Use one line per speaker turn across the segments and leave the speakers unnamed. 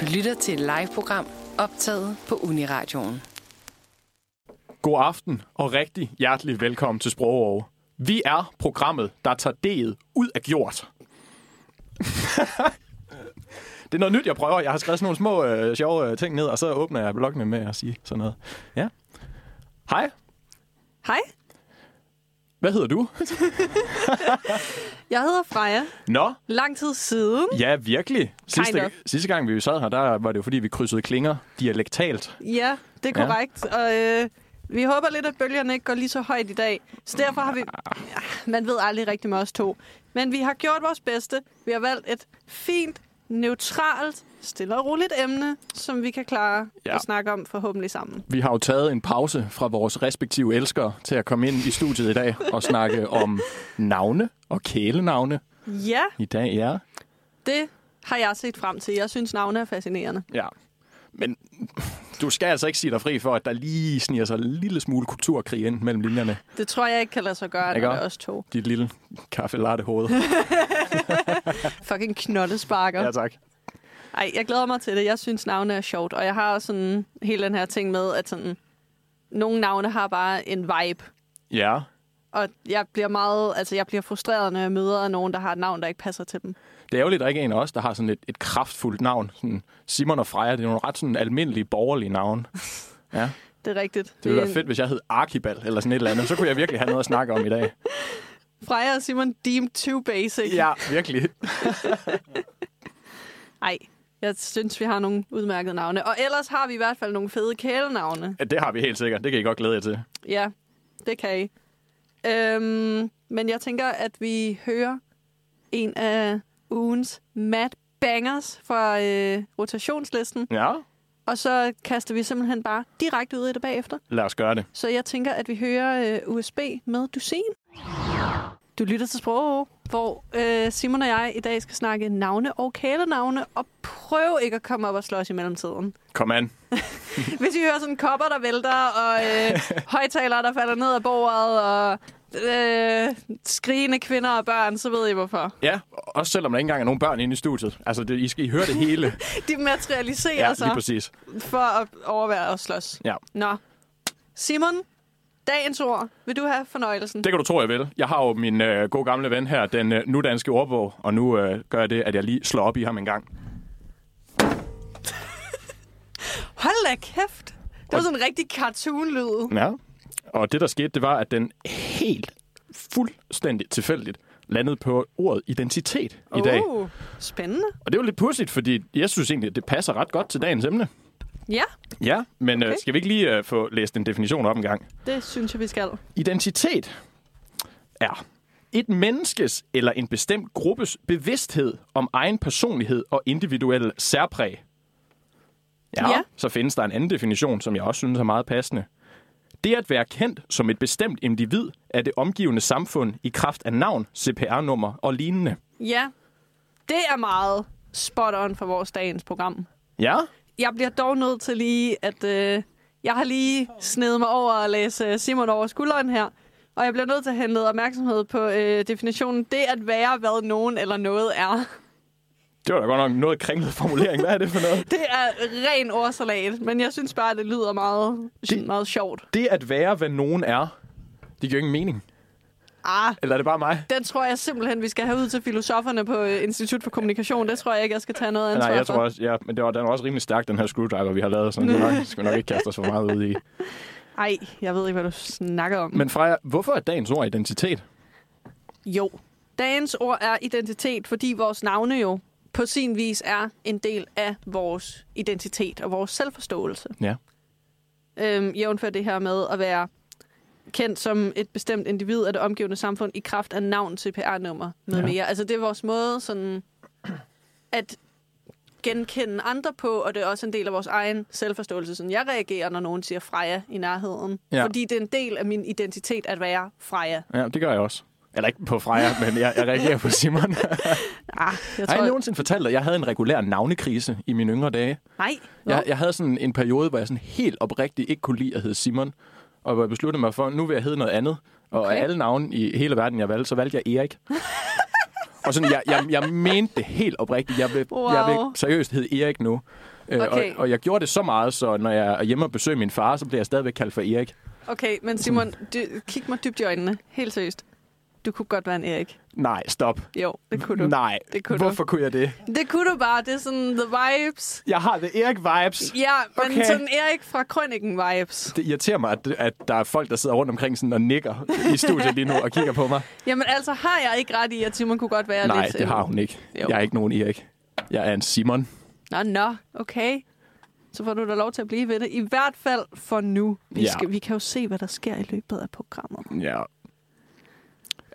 Du lytter til et live-program optaget på Uniradioen.
God aften og rigtig hjertelig velkommen til Sprogeover. Vi er programmet, der tager D'et ud af gjort. det er noget nyt, jeg prøver. Jeg har skrevet sådan nogle små øh, sjove øh, ting ned, og så åbner jeg bloggene med at sige sådan noget. Ja. Hej,
Hej,
hvad hedder du?
jeg hedder Freja.
Nå,
Lang tid siden.
ja virkelig. Sidste,
of.
sidste gang vi sad her, der var det jo fordi, vi krydsede klinger dialektalt.
Ja, det
Ja.
er korrekt. Og øh, vi håber lidt, at bølgerne ikke går lige så højt i dag. Så derfor har vi... Ah, Man ved aldrig rigtigt med os to. Men vi har gjort vores bedste. Vi har valgt et fint, neutralt, stille og roligt emne, som vi kan klare
Ja.
ja. at snakke om forhåbentlig sammen.
Vi har jo taget en pause fra vores respektive elskere til at komme ind i studiet i dag og snakke om navne og kælenavne.
Ja,
I dag, ja.
det har jeg set frem til. Jeg synes, navne er fascinerende.
Ja. Men du skal altså ikke sige dig fri for, at der lige sniger sig en lille smule kulturkrig ind mellem linjerne.
Det tror jeg ikke kan lade sig gøre,
Ikke
når det
også?
er os to.
Dit lille kaffe latte hoved.
Fucking knoldesparker.
ja, tak.
Ej, jeg glæder mig til det. Jeg synes, navne er sjovt. Og jeg har også sådan hele den her ting med, at sådan, nogle navne har bare en vibe.
Ja.
Og jeg bliver meget, altså jeg bliver frustreret, når jeg møder nogen, der har et navn, der ikke passer til dem.
Det er jo lidt, der ikke er en af os, der har sådan et, et kraftfuldt navn. Sådan Simon og Freja, det er nogle ret sådan almindelige borgerlige navne. Ja,
Det er rigtigt. Øh,
det ville være fedt, hvis jeg hed Arkibald eller sådan et eller andet. Så kunne jeg virkelig have noget at snakke om i dag.
Freja og Simon deemed too basic.
Ja, virkelig.
Ej, jeg synes, vi har nogle udmærkede navne. Og ellers har vi i hvert fald nogle fede kælenavne.
Ja, det har vi helt sikkert. Det kan I godt glæde jer til.
Ja, det kan I. Øhm, men jeg tænker, at vi hører en af ugens mad bangers fra øh, rotationslisten.
Ja,
Og så kaster vi simpelthen bare direkte ud i det bagefter.
lad os gøre det.
Så jeg tænker, at vi hører øh, USB med Dusin. Du lytter til Sprog, hvor øh, Simon og jeg i dag skal snakke navne og kælenavne, og prøv ikke at komme op og slås i mellemtiden.
Kom an.
Hvis I hører sådan kopper, der vælter, og øh, højtalere, der falder ned af bordet, og øh, skrigende kvinder og børn, så ved I hvorfor.
Ja, også selvom der ikke engang er nogen børn inde i studiet. Altså, det, I skal I høre det hele.
De materialiserer
ja, lige
sig
præcis.
for at overvære og slås.
Ja.
Nå. Simon, dagens ord. Vil du have fornøjelsen?
Det kan du tro, jeg vil. Jeg har jo min øh, gode gamle ven her, den øh, nudanske ordbog, og nu øh, gør jeg det, at jeg lige slår op i ham en gang.
Hold da kæft. Det var sådan en rigtig cartoon-lyd.
Ja. Og det, der skete, det var, at den helt fuldstændig tilfældigt landede på ordet identitet i dag.
Uh, spændende.
Og det var lidt pudsigt, fordi jeg synes egentlig, at det passer ret godt til dagens emne.
Ja,
Ja, men okay. øh,
Okay.
skal vi ikke lige øh, få læst en definition op en gang?
det synes jeg, vi skal.
Identitet er et menneskes eller en bestemt gruppes bevidsthed om egen personlighed og individuel særpræg. Ja, ja.
Ja.
Så findes der en anden definition, som jeg også synes er meget passende. Det at være kendt som et bestemt individ af det omgivende samfund i kraft af navn, CPR-nummer og lignende.
Ja, det er meget spot on for vores dagens program.
Ja,
Jeg bliver dog nødt til lige, at øh, jeg har lige snedet mig over at læse øh, Simon over skulderen her. Og jeg bliver nødt til at henlede opmærksomhed på øh, definitionen. Det at være, hvad nogen eller noget er.
det var da godt nok noget kringlet formulering. Hvad er det for noget?
Det er ren ordsalat, men jeg synes bare, det lyder meget,
Det-
meget sjovt.
Det at være, hvad nogen er, det giver ingen mening.
Ah,
Eller er det bare mig?
Den tror jeg simpelthen, vi skal have ud til filosoferne på øh, Institut for Kommunikation. Det tror jeg ikke, jeg skal tage noget ansvar
Nej, jeg
for.
tror også, ja, men det var, den var også rimelig stærk, den her screwdriver, vi har lavet, så det nok, skal vi nok ikke kaste os for meget ud i.
Ej, jeg ved ikke, hvad du snakker om.
Men Freja, hvorfor er dagens ord identitet?
Jo. Dagens ord er identitet, fordi vores navne jo på sin vis er en del af vores identitet og vores selvforståelse.
Ja.
Øhm, jævnfør det her med at være kendt som et bestemt individ af det omgivende samfund i kraft af navn, CPR-nummer med
Ja.
ja. mere. Altså det er vores måde sådan at genkende andre på, og det er også en del af vores egen selvforståelse. Sådan jeg reagerer, når nogen siger Freja i nærheden.
Ja.
Ja. Fordi det er en del af min identitet at være Freja.
Ja, det gør jeg også. Eller ikke på Freja, men jeg, jeg reagerer på Simon.
Ah, jeg
Har jeg nogensinde fortalt dig, at jeg havde en regulær navnekrise i mine yngre dage?
Nej. Nå.
Jeg, jeg havde sådan en periode, hvor jeg sådan helt oprigtigt ikke kunne lide at hedde Simon. Og hvor jeg besluttede mig for, at nu vil jeg hedde noget andet. Og
Okay.
af alle navne i hele verden, jeg valgte, så valgte jeg Erik. Og sådan, jeg, jeg, jeg mente det helt oprigtigt. Jeg vil, wow. jeg vil
Wow.
seriøst hedde Erik nu. Øh,
Okay.
Og, og jeg gjorde det så meget, så når jeg er hjemme og besøger min far, så bliver jeg stadigvæk kaldt for Erik.
Okay, men Simon, du, kig mig dybt i øjnene. Helt seriøst. Du kunne godt være en Erik.
Nej, stop.
Jo, det kunne du.
Nej,
Det kunne du.
hvorfor kunne jeg det?
Det kunne du bare. Det er sådan the vibes.
Jeg har det Erik-vibes.
Ja, men
Okay.
okay. sådan Erik fra Krønningen vibes.
Det irriterer mig, at, at der er folk, der sidder rundt omkring sådan og nikker i studiet lige nu og kigger på mig.
Jamen altså, har jeg ikke ret i, at Simon kunne godt være
Nej,
lidt... øh,
det har hun ikke.
Jo.
Jeg er ikke nogen Erik. Jeg er en Simon.
Nå, nå, okay. Så får du da lov til at blive ved det. I hvert fald for nu. Vi,
Ja.
skal, vi kan jo se, hvad der sker i løbet af programmet.
Ja.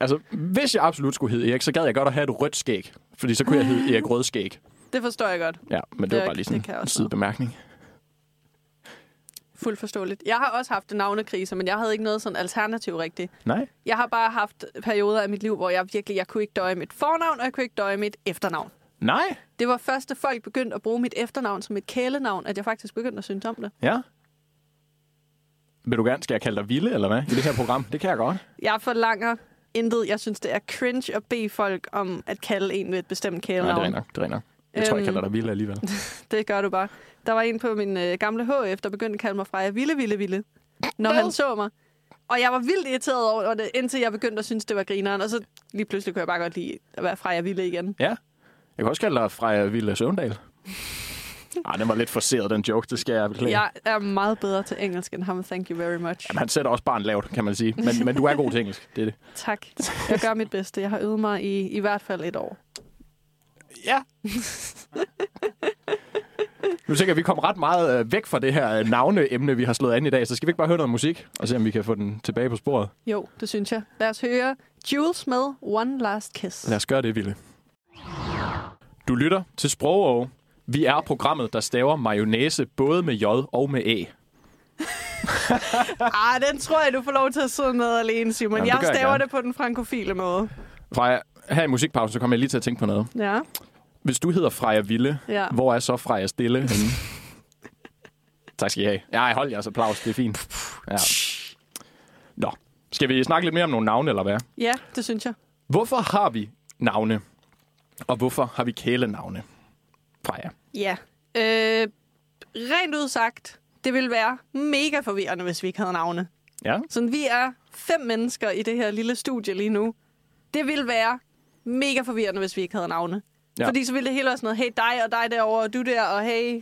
Altså, hvis jeg absolut skulle hedde Erik, så gad jeg godt at have et rødt skæg. Fordi så kunne jeg hedde Erik Rødskæg.
Det forstår jeg godt.
Ja, men det,
Det
var
er-
bare lige sådan
det kan jeg
en
også
sidebemærkning.
Fuldt forståeligt. Jeg har også haft navnekriser, men jeg havde ikke noget sådan alternativ rigtigt.
Nej.
Jeg har bare haft perioder af mit liv, hvor jeg virkelig jeg kunne ikke døje mit fornavn, og jeg kunne ikke døje mit efternavn.
Nej.
Det var først, da folk begyndte at bruge mit efternavn som et kælenavn, at jeg faktisk begyndte at synes om det.
Ja. Vil du gerne, skal jeg kalde dig Ville, eller hvad? I det her program? Det kan jeg godt.
Jeg forlanger intet. Jeg synes, det er cringe at bede folk om at kalde en ved et bestemt
Nej, det
kælenavn.
rinder. Det rinder. Jeg tror, jeg
Øhm.
kalder dig Ville alligevel.
det gør du bare. Der var en på min øh, gamle HF, der begyndte at kalde mig Freja Ville Ville Ville, når han så mig. Og jeg var vildt irriteret over det, indtil jeg begyndte at synes, det var grineren. Og så lige pludselig kunne jeg bare godt lide at være Freja Ville igen.
Ja. Jeg kan også kalde dig Freja Ville Søvndal. Ej, den var lidt forceret, den joke. Det skal jeg beklage.
Jeg er meget bedre til engelsk end ham. Thank you very much.
Jamen, han sætter også barn lavt, kan man sige. Men, men du er god til engelsk, det er det.
Tak. Jeg gør mit bedste. Jeg har øvet mig i i hvert fald et år.
Ja. nu tænker jeg, at vi kom ret meget øh, væk fra det her øh, navneemne, vi har slået an i dag. Så skal vi ikke bare høre noget musik, og se om vi kan få den tilbage på sporet.
Jo, det synes jeg. Lad os høre Jules med One Last Kiss.
Lad os gøre det, Ville. Du lytter til Sprogov. Vi er programmet, der staver mayonnaise både med J og med A.
Ah, den tror jeg, du får lov til at sidde med alene, Simon.
Jamen, det
jeg
gør jeg
staver
gerne.
det på den frankofile måde.
Freja, her i musikpausen, så kommer jeg lige til at tænke på noget.
Ja.
Hvis du hedder Freja Ville,
Ja.
hvor er så Freja Stille henne? tak skal I have. Ja, hold jeres applaus, det er fint. Ja. Nå, skal vi snakke lidt mere om nogle navne, eller hvad?
ja, det synes jeg.
Hvorfor har vi navne? Og hvorfor har vi kælenavne? Freja.
Ja. Øh, rent ud sagt, det ville være mega forvirrende, hvis vi ikke havde navne.
Ja.
Så vi er fem mennesker i det her lille studie lige nu. Det ville være mega forvirrende, hvis vi ikke havde navne.
Ja.
Ja. Fordi så ville det hele være sådan noget, hey dig og dig derovre, og du der, og hey,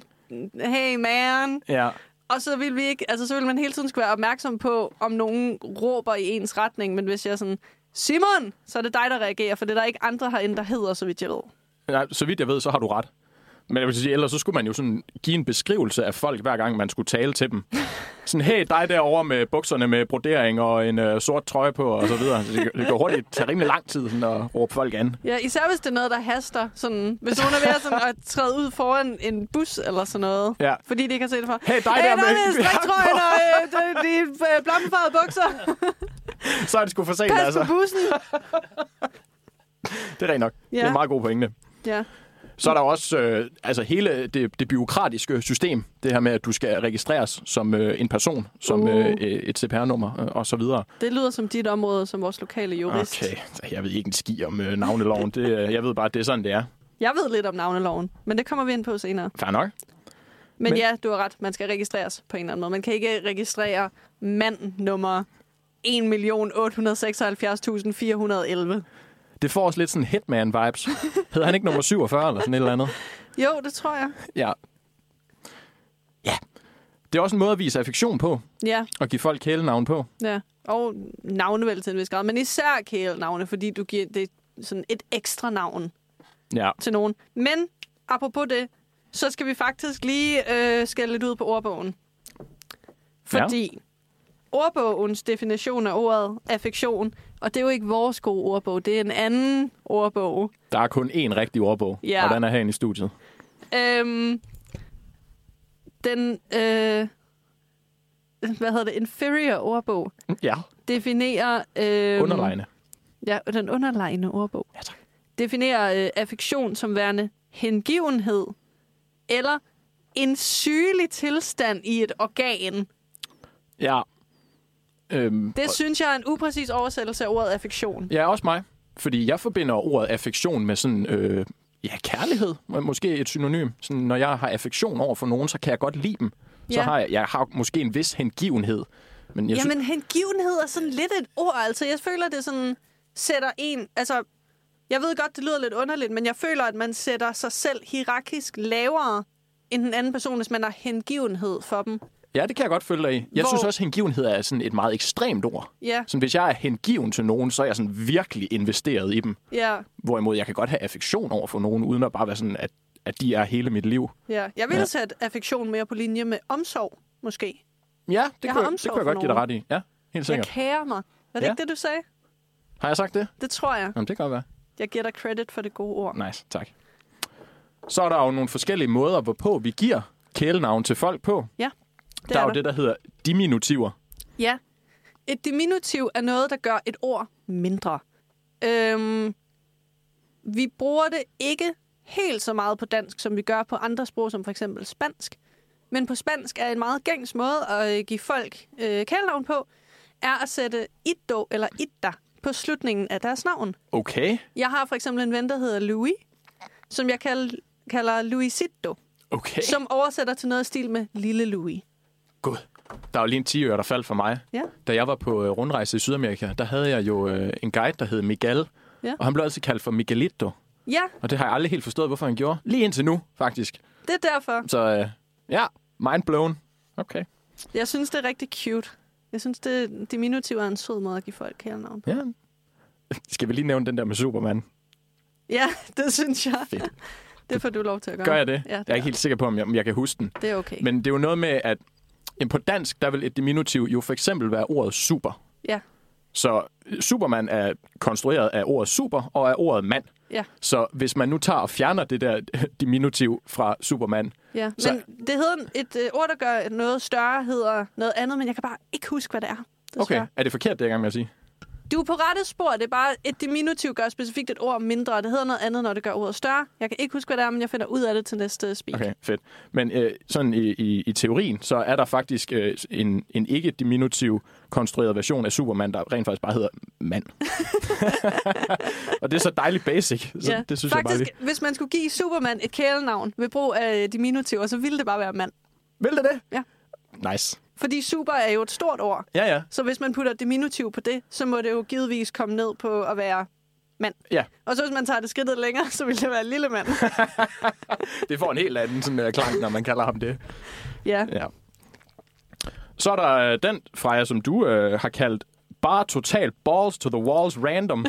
hey man.
Ja.
Og så ville, vi ikke, altså, så ville man hele tiden skulle være opmærksom på, om nogen råber i ens retning. Men hvis jeg er sådan, Simon, så er det dig, der reagerer, for det er der ikke andre herinde, der hedder, så vidt jeg ved.
Nej, så vidt jeg ved, så har du ret. Men jeg vil sige, ellers så skulle man jo sådan give en beskrivelse af folk, hver gang man skulle tale til dem. Sådan, hey, dig derovre med bukserne med brodering og en øh, sort trøje på og så videre. Så det, det går hurtigt, tager rimelig lang tid sådan, at råbe folk an.
Ja, især hvis det er noget, der haster. Sådan, hvis nogen er ved at, sådan, at træde ud foran en bus eller sådan noget.
Ja.
Fordi de ikke har set det fra.
Hey, dig der med-
med striktrøjen og øh, de, de øh, blommefarvede bukser.
Så er det sgu for sent,
Pas
altså.
på bussen.
Det er rent nok. Ja. Det er
Ja.
en meget god pointe.
Ja.
Så er der også øh, altså hele det, det byråkratiske system, det her med, at du skal registreres som øh, en person, som
Uh.
øh, et CPR-nummer øh, og så videre.
Det lyder som dit område, som vores lokale jurist.
Okay, jeg ved ikke en ski om øh, navneloven. Det, øh, jeg ved bare, at det er sådan, det er.
Jeg ved lidt om navneloven, men det kommer vi ind på senere.
Fair nok.
Men,
Men-
men ja, du har ret. Man skal registreres på en eller anden måde. Man kan ikke registrere mand nummer 1.876.411.
Det får også lidt sådan Hitman-vibes. Hed han ikke nummer 47 eller sådan et eller andet?
Jo, det tror jeg.
Ja. Ja. Det er også en måde at vise affektion på,
Ja,
og give folk kælenavn på.
Ja, og navne vel til en vis grad, men især kælenavne, fordi du giver det sådan et ekstra navn
Ja.
til nogen. Men apropos det, så skal vi faktisk lige øh, skælde lidt ud på ordbogen. Fordi ja. ordbogens definition af ordet affektion, og det er jo ikke vores gode ordbog, det er en anden ordbog.
Der er kun én rigtig ordbog,
Ja.
og den er herinde i studiet.
Øhm, den, øh, hvad hedder det, inferior ordbog
Mm, Ja.
definerer... Øh,
Underlejende.
Ja, og den underlegne ordbog.
Øhm. Ja, tak.
Definerer øh, affektion som værende hengivenhed eller en sygelig tilstand i et organ.
Ja. Øhm,
Det synes jeg er en upræcis oversættelse af ordet affektion.
Ja, også mig. Fordi jeg forbinder ordet affektion med sådan... Øh, ja, kærlighed. Må- Måske et synonym. Sådan, når jeg har affektion over for nogen, så kan jeg godt lide dem. Så
Ja.
har jeg, jeg har måske en vis hengivenhed. Men jeg synes,
Jamen, hengivenhed er sådan lidt et ord, altså. Jeg føler, det sådan sætter en... Altså, jeg ved godt, det lyder lidt underligt, men jeg føler, at man sætter sig selv hierarkisk lavere end den anden person, hvis man har hengivenhed for dem.
ja, det kan jeg godt følge dig i. Jeg
Hvor-
synes også, hengivenhed er sådan et meget ekstremt ord.
Ja,
Sådan, hvis jeg er hengiven til nogen, så er jeg sådan virkelig investeret i dem.
ja,
Hvorimod jeg kan godt have affektion over for nogen, uden at bare være sådan, at, at de er hele mit liv.
ja. Jeg ville
Ja.
ja. sætte affektion mere på linje med omsorg, måske.
Ja, det,
Jeg har
kunne, jeg, det
omsorg
kunne jeg
for
godt give dig
nogen.
ret i. Ja, helt
Jeg
sikkert.
kærer mig. Var det
Ja.
ikke det, du sagde?
Har jeg sagt det?
Det tror jeg.
Jamen, det kan godt være.
Jeg giver dig credit for det gode ord.
Nice, tak. Så er der jo nogle forskellige måder, hvorpå vi giver kælenavn til folk på.
Ja, det
der er,
er
jo
der.
det, der hedder diminutiver.
Ja. Et diminutiv er noget, der gør et ord mindre. Øhm, vi bruger det ikke helt så meget på dansk, som vi gør på andre sprog, som for eksempel spansk. Men på spansk er en meget gængs måde at øh, give folk øh, kælenavn på, er at sætte iddo eller idda på slutningen af deres navn.
Okay,
Jeg har for eksempel en ven, der hedder Louis, som jeg kal- kalder Louisito,
okay.
som oversætter til noget i stil med Lille Louis.
God. Der er jo lige en 10 der faldt for mig.
Ja.
Da jeg var på øh, rundrejse i Sydamerika, der havde jeg jo øh, en guide, der hed Miguel.
Ja.
Og han blev altid kaldt for Miguelito.
Ja,
Og det har jeg aldrig helt forstået, hvorfor han gjorde. Lige indtil nu, faktisk.
det er derfor.
Så øh, ja, mind blown. Okay.
Jeg synes, det er rigtig cute. Jeg synes, det diminutiv er en sød måde at give folk kælenavn.
Ja. Skal vi lige nævne den der med Superman?
Ja, det synes jeg.
Fedt.
Det får du lov til at gøre.
Gør jeg det?
Ja,
jeg er ikke helt sikker på, om jeg, om jeg kan huske den.
det er okay. Men...
Men det er jo noget med, at jamen, på dansk, der vil et diminutiv jo for eksempel være ordet super.
Ja,
Så øh, Superman er konstrueret af ordet super og af ordet mand.
ja,
Så hvis man nu tager og fjerner det der diminutiv fra Superman,
ja. Men
Så-
det hedder et øh, ord, der gør noget større, hedder noget andet, men jeg kan bare ikke huske, hvad det er.
okay,
desværre.
er det forkert, det jeg er i gang med at sige?
Du er på rette spor. Det er bare, et diminutiv gør specifikt et ord mindre, og det hedder noget andet, når det gør ordet større. Jeg kan ikke huske, hvad det er, men jeg finder ud af det til næste speak.
Okay, fedt. Men øh, sådan i, i, i teorien, så er der faktisk øh, en, en ikke-diminutiv konstrueret version af Superman, der rent faktisk bare hedder mand. og det er så dejligt basic, så ja, det synes
Faktisk,
jeg bare lige.
hvis man skulle give Superman et kælenavn ved brug af diminutiver, så ville det bare være mand.
Vil det det?
Ja.
Nice.
Fordi super er jo et stort ord.
Ja, ja.
Så hvis man putter et diminutiv på det, så må det jo givetvis komme ned på at være mand.
Ja,
Og så hvis man tager det skridtet længere, så vil det være lille mand.
det får en helt anden sådan, uh, klang, når man kalder ham det.
ja.
Ja. Så er der øh, den, Freja, som du øh, har kaldt bare total balls to the walls random.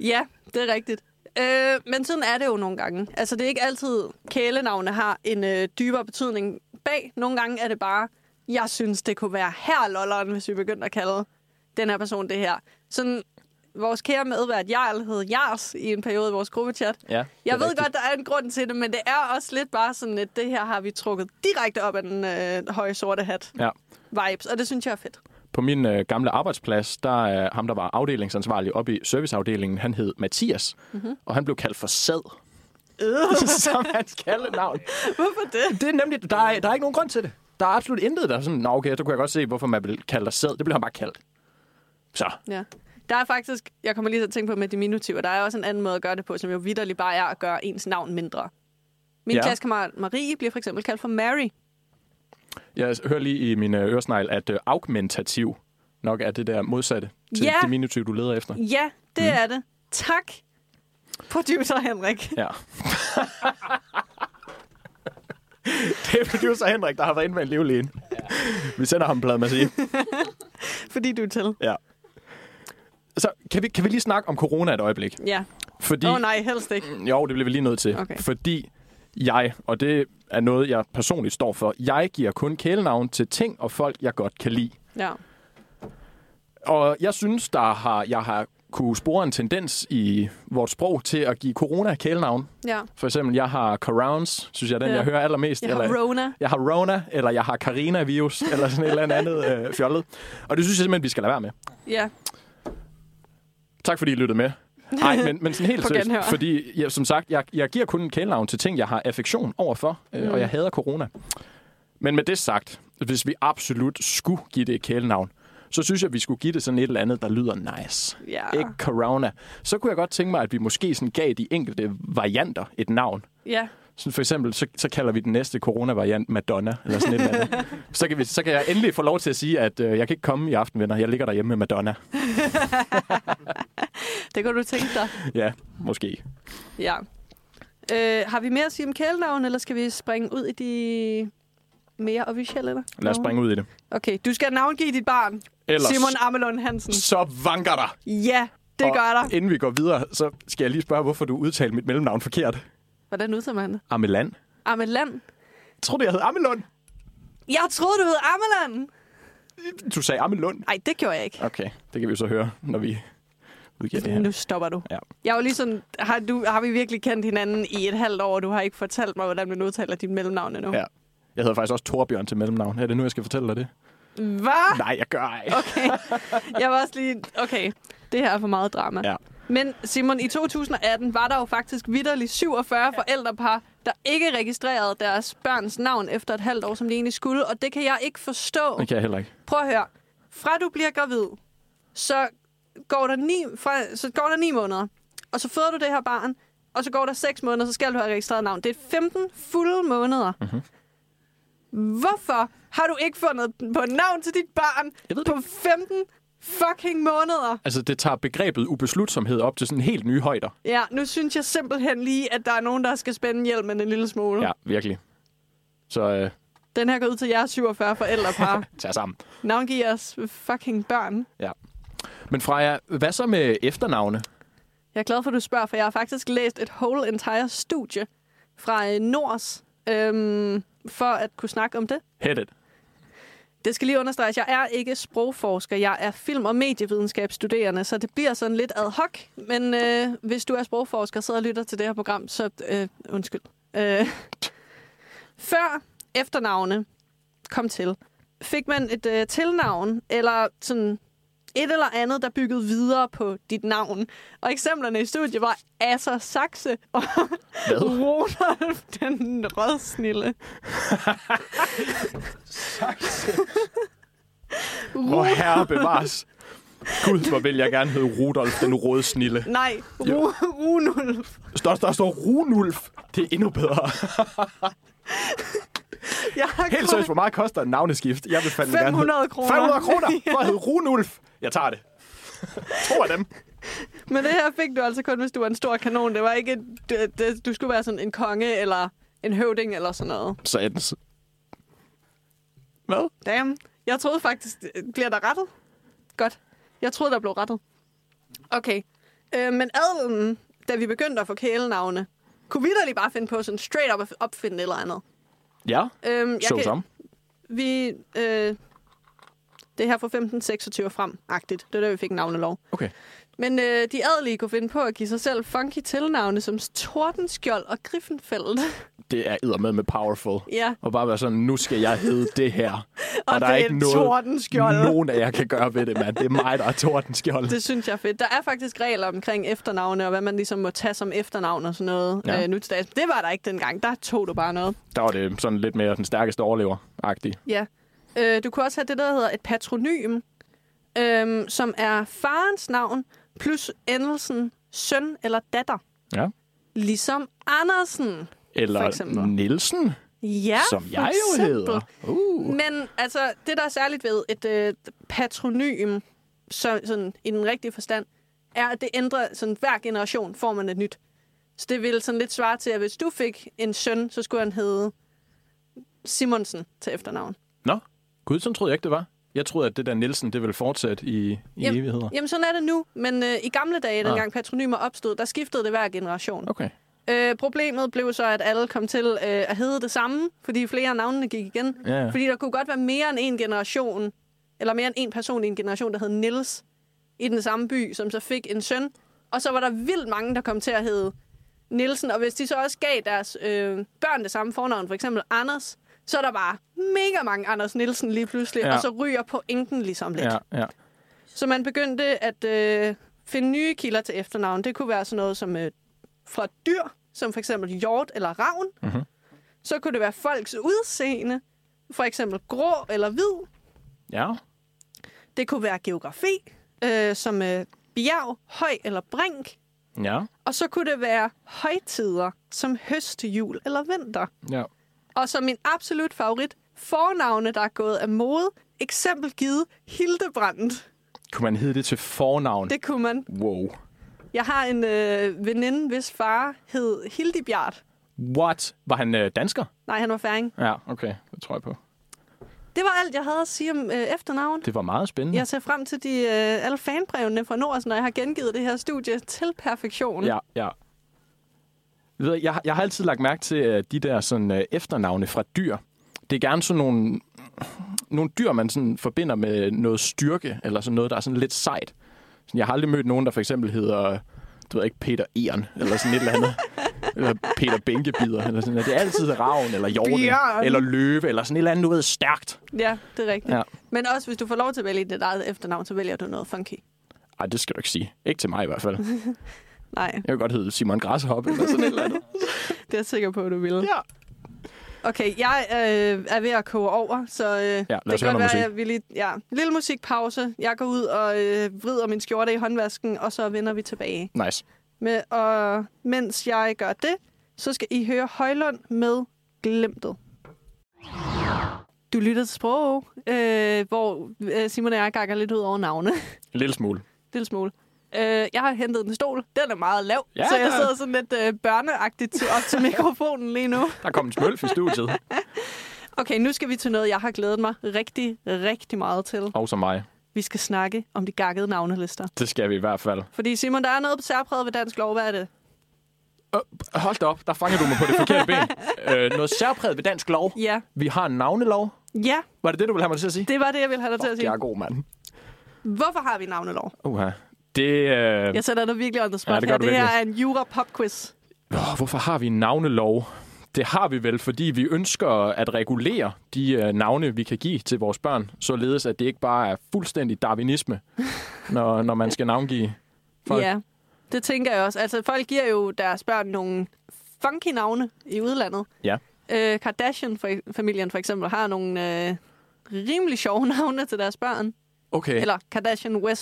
ja, det er rigtigt. Øh, men sådan er det jo nogle gange. Altså det er ikke altid, kælenavne har en øh, dybere betydning bag. Nogle gange er det bare, jeg synes, det kunne være her lolleren, hvis vi begyndte at kalde den her person det her. Sådan, vores kære medvært Jarl hed Jars i en periode i vores gruppechat.
Ja, det er
Jeg ved
rigtigt.
godt, der er en grund til det, men det er også lidt bare sådan, at det her har vi trukket direkte op af den øh, høje sorte hat
Ja.
vibes, og det synes jeg er fedt.
På min øh, gamle arbejdsplads, der er ham, der var afdelingsansvarlig oppe i serviceafdelingen, han hed Mathias, mm-hmm.
Mhm.
og han blev kaldt for sad.
Øh.
som hans kaldenavn.
Hvorfor det?
Det er nemlig, der er, der er ikke nogen grund til det. Der er absolut intet, der er sådan, nå okay, så kunne jeg godt se, hvorfor man vil kalde dig sæd. Det blev han bare kaldt. Så,
Ja. Der er faktisk, jeg kommer lige til at tænke på med diminutiver, der er også en anden måde at gøre det på, som jo vidderligt bare er at gøre ens navn mindre. Min
Ja.
ja. klassekammerat Marie bliver for eksempel kaldt for Mary.
jeg hører lige i min øh, øresnegl, at øh, augmentativ nok er det der modsatte til
Ja.
diminutiv, du leder efter.
Ja, det mm. er det. Tak, producer Henrik.
Ja. det er producer Henrik, der har været inde med en livlægen. Ja. Vi sender ham en plade, man siger.
Fordi du er til.
Ja. Så kan vi, kan vi lige snakke om corona et øjeblik?
Ja.
Fordi,
Åh oh, nej, helst ikke.
Jo, det bliver vi lige nødt til.
Okay.
Fordi jeg, og det er noget, jeg personligt står for, jeg giver kun kælenavn til ting og folk, jeg godt kan lide.
Ja.
Og jeg synes, der har, jeg har kunne spore en tendens i vores sprog til at give corona kælenavn.
ja.
For eksempel, jeg har Corowns, synes jeg er den,
Ja.
jeg hører allermest.
Jeg har
eller,
Rona.
jeg har Rona, eller jeg har Carina-virus, eller sådan et eller andet øh, fjollet. Og det synes jeg simpelthen, vi skal lade være med.
Ja.
Tak fordi I lyttede med. Nej, men, men sådan helt
På
seriøst,
genhør.
fordi jeg, som sagt, jeg, jeg giver kun kælenavn til ting, jeg har affektion overfor, øh,
Mm.
og jeg hader corona. Men med det sagt, hvis vi absolut skulle give det et kælenavn, så synes jeg, at vi skulle give det sådan et eller andet, der lyder nice.
Ja.
Ikke corona. Så kunne jeg godt tænke mig, at vi måske sådan gav de enkelte varianter et navn.
Ja.
Sådan for eksempel, så, så kalder vi den næste coronavariant Madonna, eller sådan et eller andet. Så kan, vi, så kan jeg endelig få lov til at sige, at øh, jeg kan ikke komme i aften, venner. Jeg ligger derhjemme med Madonna.
Det kan du tænke dig.
Ja, måske.
Ja. Øh, har vi mere at sige om kælenavn, eller skal vi springe ud i de mere officielle? Eller?
Lad os springe ud i det.
Okay, du skal navngive dit barn.
Ellers,
Simon Amelund Hansen.
så vanker der.
Ja, det
Og
gør der.
Inden vi går videre, så skal jeg lige spørge, hvorfor du udtalte mit mellemnavn forkert.
Hvordan udtaler man det?
Ameland.
Ameland.
Jeg troede, jeg hed Amelund.
Jeg troede, du hed Ameland.
Du sagde Amelund.
Nej, det gjorde jeg ikke.
Okay, det kan vi jo så høre, når vi udgiver det her.
Nu stopper du.
Ja.
Jeg var lige sådan, har, du, har vi virkelig kendt hinanden i et halvt år, og du har ikke fortalt mig, hvordan man udtaler dit mellemnavn endnu?
ja. Jeg hedder faktisk også Torbjørn til mellemnavn. Er det nu, jeg skal fortælle dig det?
Hvad?
Nej, jeg gør ej.
Okay. Jeg var også lige, okay, det her er for meget drama.
Ja.
Men Simon, i 2018 var der jo faktisk vidderligt 47 forældrepar, der ikke registrerede deres børns navn efter et halvt år, som de egentlig skulle. Og det kan jeg ikke forstå.
Det kan jeg heller ikke.
Prøv at høre. Fra du bliver gravid, så går der ni, fra, så går der ni måneder, og så føder du det her barn, og så går der 6 måneder, så skal du have registreret navn. Det er 15 fulde måneder. Mm-hmm.
Mhm.
Hvorfor har du ikke fundet på et navn til dit barn
Jeg ved det
på 15 fucking måneder?
Altså, det tager begrebet ubeslutsomhed op til sådan helt nye højder.
Ja, nu synes jeg simpelthen lige, at der er nogen, der skal spænde hjelmen en lille smule.
Ja, virkelig. Så øh,
Den her går ud til jer 47 forældrepar.
tag jer sammen.
Navngiv jeres fucking børn.
Ja. Men Freja, hvad så med efternavne?
Jeg er glad for, at du spørger, for jeg har faktisk læst et whole entire studie fra øh, Nords, øhm, for at kunne snakke om det.
Hit it.
Det skal lige understreges, jeg er ikke sprogforsker, jeg er film- og medievidenskabsstuderende, så det bliver sådan lidt ad hoc. Men øh, hvis du er sprogforsker, sidder og lytter til det her program, så øh, undskyld. Øh, før efternavne kom til, fik man et øh, tilnavn, eller sådan et eller andet, der byggede videre på dit navn. Og eksemplerne i studiet var Asser Saxe og
Hvad?
Ronald den Rødsnille.
Hvor herre bevares. Gud, hvor vil jeg gerne hedde Rudolf den rådsnille.
Nej, Ru- Runulf.
Står, der står Runulf. Det er endnu bedre.
Jeg har
Helt seriøst, hvor meget koster en navneskift? Jeg vil fandme gerne...
500 kroner.
500 kroner for at hedde Runulf. Jeg tager det. To af dem.
Men det her fik du altså kun, hvis du var en stor kanon. Det var ikke, det, det, du skulle være sådan en konge eller en høvding eller sådan noget.
Så er den... s- Hvad?
Damn. Jeg troede faktisk, bliver der rettet? Godt. Jeg troede, der blev rettet. Okay. Øh, men adelen, da vi begyndte at få kælenavne, kunne vi da lige bare finde på sådan straight up at opfinde et eller andet.
Ja,
Øhm, jeg
så
kan-
som.
Vi, øh, det er her fra 1526 frem-agtigt. Det er der, vi fik navnelov.
Okay.
Men øh, de adelige kunne finde på at give sig selv funky tilnavne som Tordenskjold og Griffenfeldt.
Det er med med powerful.
ja,
Og bare være sådan, nu skal jeg hedde det her.
og,
der
det
er
er
ikke
en
noget-
Tordenskjold.
Nogen af jer kan gøre ved det, mand. Det er mig, der er tordenskjold.
Det synes jeg er fedt. Der er faktisk regler omkring efternavne, og hvad man ligesom må tage som efternavn og sådan noget
Ja.
ja. øh, nu til dags. Det var der ikke dengang. Der tog du bare noget.
Der var det sådan lidt mere den stærkeste overlever-agtig.
Ja. Øh, du kunne også have det, der hedder et patronym, øhm, som er farens navn plus endelsen søn eller datter.
Ja.
Ligesom Andersen. For
Eller
eksempel.
Nielsen,
Ja,
som
for
jeg jo
eksempel.
hedder. Uh.
Men altså, det, der er særligt ved et øh, patronym, så, sådan, i den rigtige forstand, er, at det ændrer, sådan, hver generation får man et nyt. Så det ville sådan lidt svare til, at hvis du fik en søn, så skulle han hedde Simonsen til efternavn.
Nå, gud, sådan troede jeg ikke, det var. Jeg troede, at det der Nielsen, det ville fortsætte i, i
Jamen-
evigheder.
Jamen, sådan er det nu. Men øh, i gamle dage,
Ah.
dengang patronymer opstod, der skiftede det hver generation.
Okay.
Øh, problemet blev så, at alle kom til øh, at hedde det samme, fordi flere af navnene gik igen.
Ja, ja.
Fordi der kunne godt være mere end en generation, eller mere end en person i en generation, der hed Nils i den samme by, som så fik en søn. Og så var der vildt mange, der kom til at hedde Nielsen. Og hvis de så også gav deres øh, børn det samme fornavn, for eksempel Anders, så er der bare mega mange Anders Nielsen lige pludselig,
Ja.
ja. og så ryger pointen ligesom lidt.
Ja, ja.
Så man begyndte at øh, finde nye kilder til efternavn. Det kunne være sådan noget som øh, fra dyr, som for eksempel hjort eller ravn.
Mhm.
Så kunne det være folks udseende, for eksempel grå eller hvid.
ja.
Det kunne være geografi, øh, som øh, bjerg, høj eller brink.
Ja.
Og så kunne det være højtider, som høst, jul eller vinter.
ja.
Og som min absolut favorit, fornavne, der er gået af mode. Eksempel givet Hildebrandt.
Kunne man hedde det til fornavn?
Det kunne man.
Wow.
Jeg har en øh, veninde, hvis far hed Hildebjart.
What? Var han øh, dansker?
Nej, han var færing.
Ja, okay. Det tror jeg på.
Det var alt, jeg havde at sige om øh, efternavn.
Det var meget spændende.
Jeg ser frem til de øh, alle fanbrevene fra Nordsen, når jeg har gengivet det her studie til perfektion.
Ja, ja. Ved jeg, jeg, jeg har altid lagt mærke til øh, de der sådan, øh, efternavne fra dyr. Det er gerne sådan nogle, nogle dyr, man sådan forbinder med noget styrke, eller sådan noget, der er sådan lidt sejt. Sådan, jeg har aldrig mødt nogen, der for eksempel hedder, øh, du ved ikke, Peter Eren, eller sådan et eller andet. eller Peter Bænkebider, eller sådan noget. Det er altid ravn, eller
Bjørn.
jorden, eller løve, eller sådan et eller andet, du ved, stærkt.
ja det er rigtigt. Ja.
Ja.
Men også, hvis du får lov til at vælge dit eget efternavn, så vælger du noget funky.
Ej, det skal du ikke sige. Ikke til mig i hvert fald.
Nej,
Jeg vil godt hedde Simon Græshoppe, eller sådan et eller andet.
det er jeg sikker på, at du vil.
Ja.
Okay, jeg øh, er ved at koge over, så øh, ja, det
høre
kan godt
noget
være,
musik.
jeg vil lige... Ja, lille musikpause. Jeg går ud og øh, vrider min skjorte i håndvasken, og så vender vi tilbage.
Nice.
Med, og mens jeg gør det, så skal I høre Højlund med Glemtet. Du lytter til sprog, øh, hvor øh, Simon og jeg gakker lidt ud over navne.
En lille smule.
Lille smule. Øh, jeg har hentet en stol. Den er meget lav,
Ja,
så jeg
der-
sidder sådan lidt øh, børneagtigt til- op til mikrofonen lige nu.
Der kom en smølf i studiet.
Okay, nu skal vi til noget, jeg har glædet mig rigtig, rigtig meget til.
Og som mig.
Vi skal snakke om de gakkede navnelister.
Det skal vi i hvert fald.
Fordi Simon, der er noget særpræget ved dansk lov. Hvad er det?
Øh, hold da op, der fanger du mig på det forkerte ben. Øh, noget særpræget ved dansk lov.
Ja.
Vi har en navnelov.
Ja,
Var det det, du ville have mig til at sige?
det var det, jeg ville have dig til at
Jeg
sige.
er god, mand.
Hvorfor har vi navnelov?
Uha. Det, øh...
Jeg sætter dig virkelig on the spot
Ja, det gør
her.
du
Det her er en jura-pop-quiz.
oh, hvorfor har vi en navnelov? Det har vi vel, fordi vi ønsker at regulere de øh, navne, vi kan give til vores børn, således at det ikke bare er fuldstændig darwinisme, når, når man skal navngive folk.
Ja, det tænker jeg også. Altså, folk giver jo deres børn nogle funky navne i udlandet.
Ja.
Øh, Kardashian-familien for eksempel har nogle øh, rimelig sjove navne til deres børn.
Okay,
Eller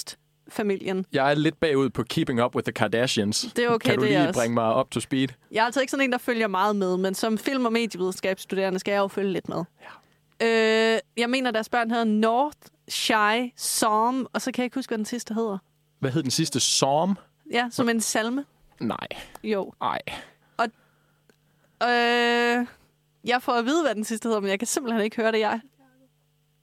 Kardashian-West-familien.
jeg er lidt bagud på Keeping Up with the Kardashians.
Det er okay,
kan du
det er
lige
også-
bringe mig op to speed?
Jeg er altså ikke sådan en, der følger meget med, men som film- og medievidenskabsstuderende skal jeg jo følge lidt med. Ja. Øh, jeg mener, deres børn hedder North, Shy, Psalm, og så kan jeg ikke huske, hvad den sidste hedder.
Hvad hed den sidste? Psalm?
Ja, som en salme.
Nej,
Jo.
nej.
Øh, jeg får at vide, hvad den sidste hedder, men jeg kan simpelthen ikke høre det. Jeg...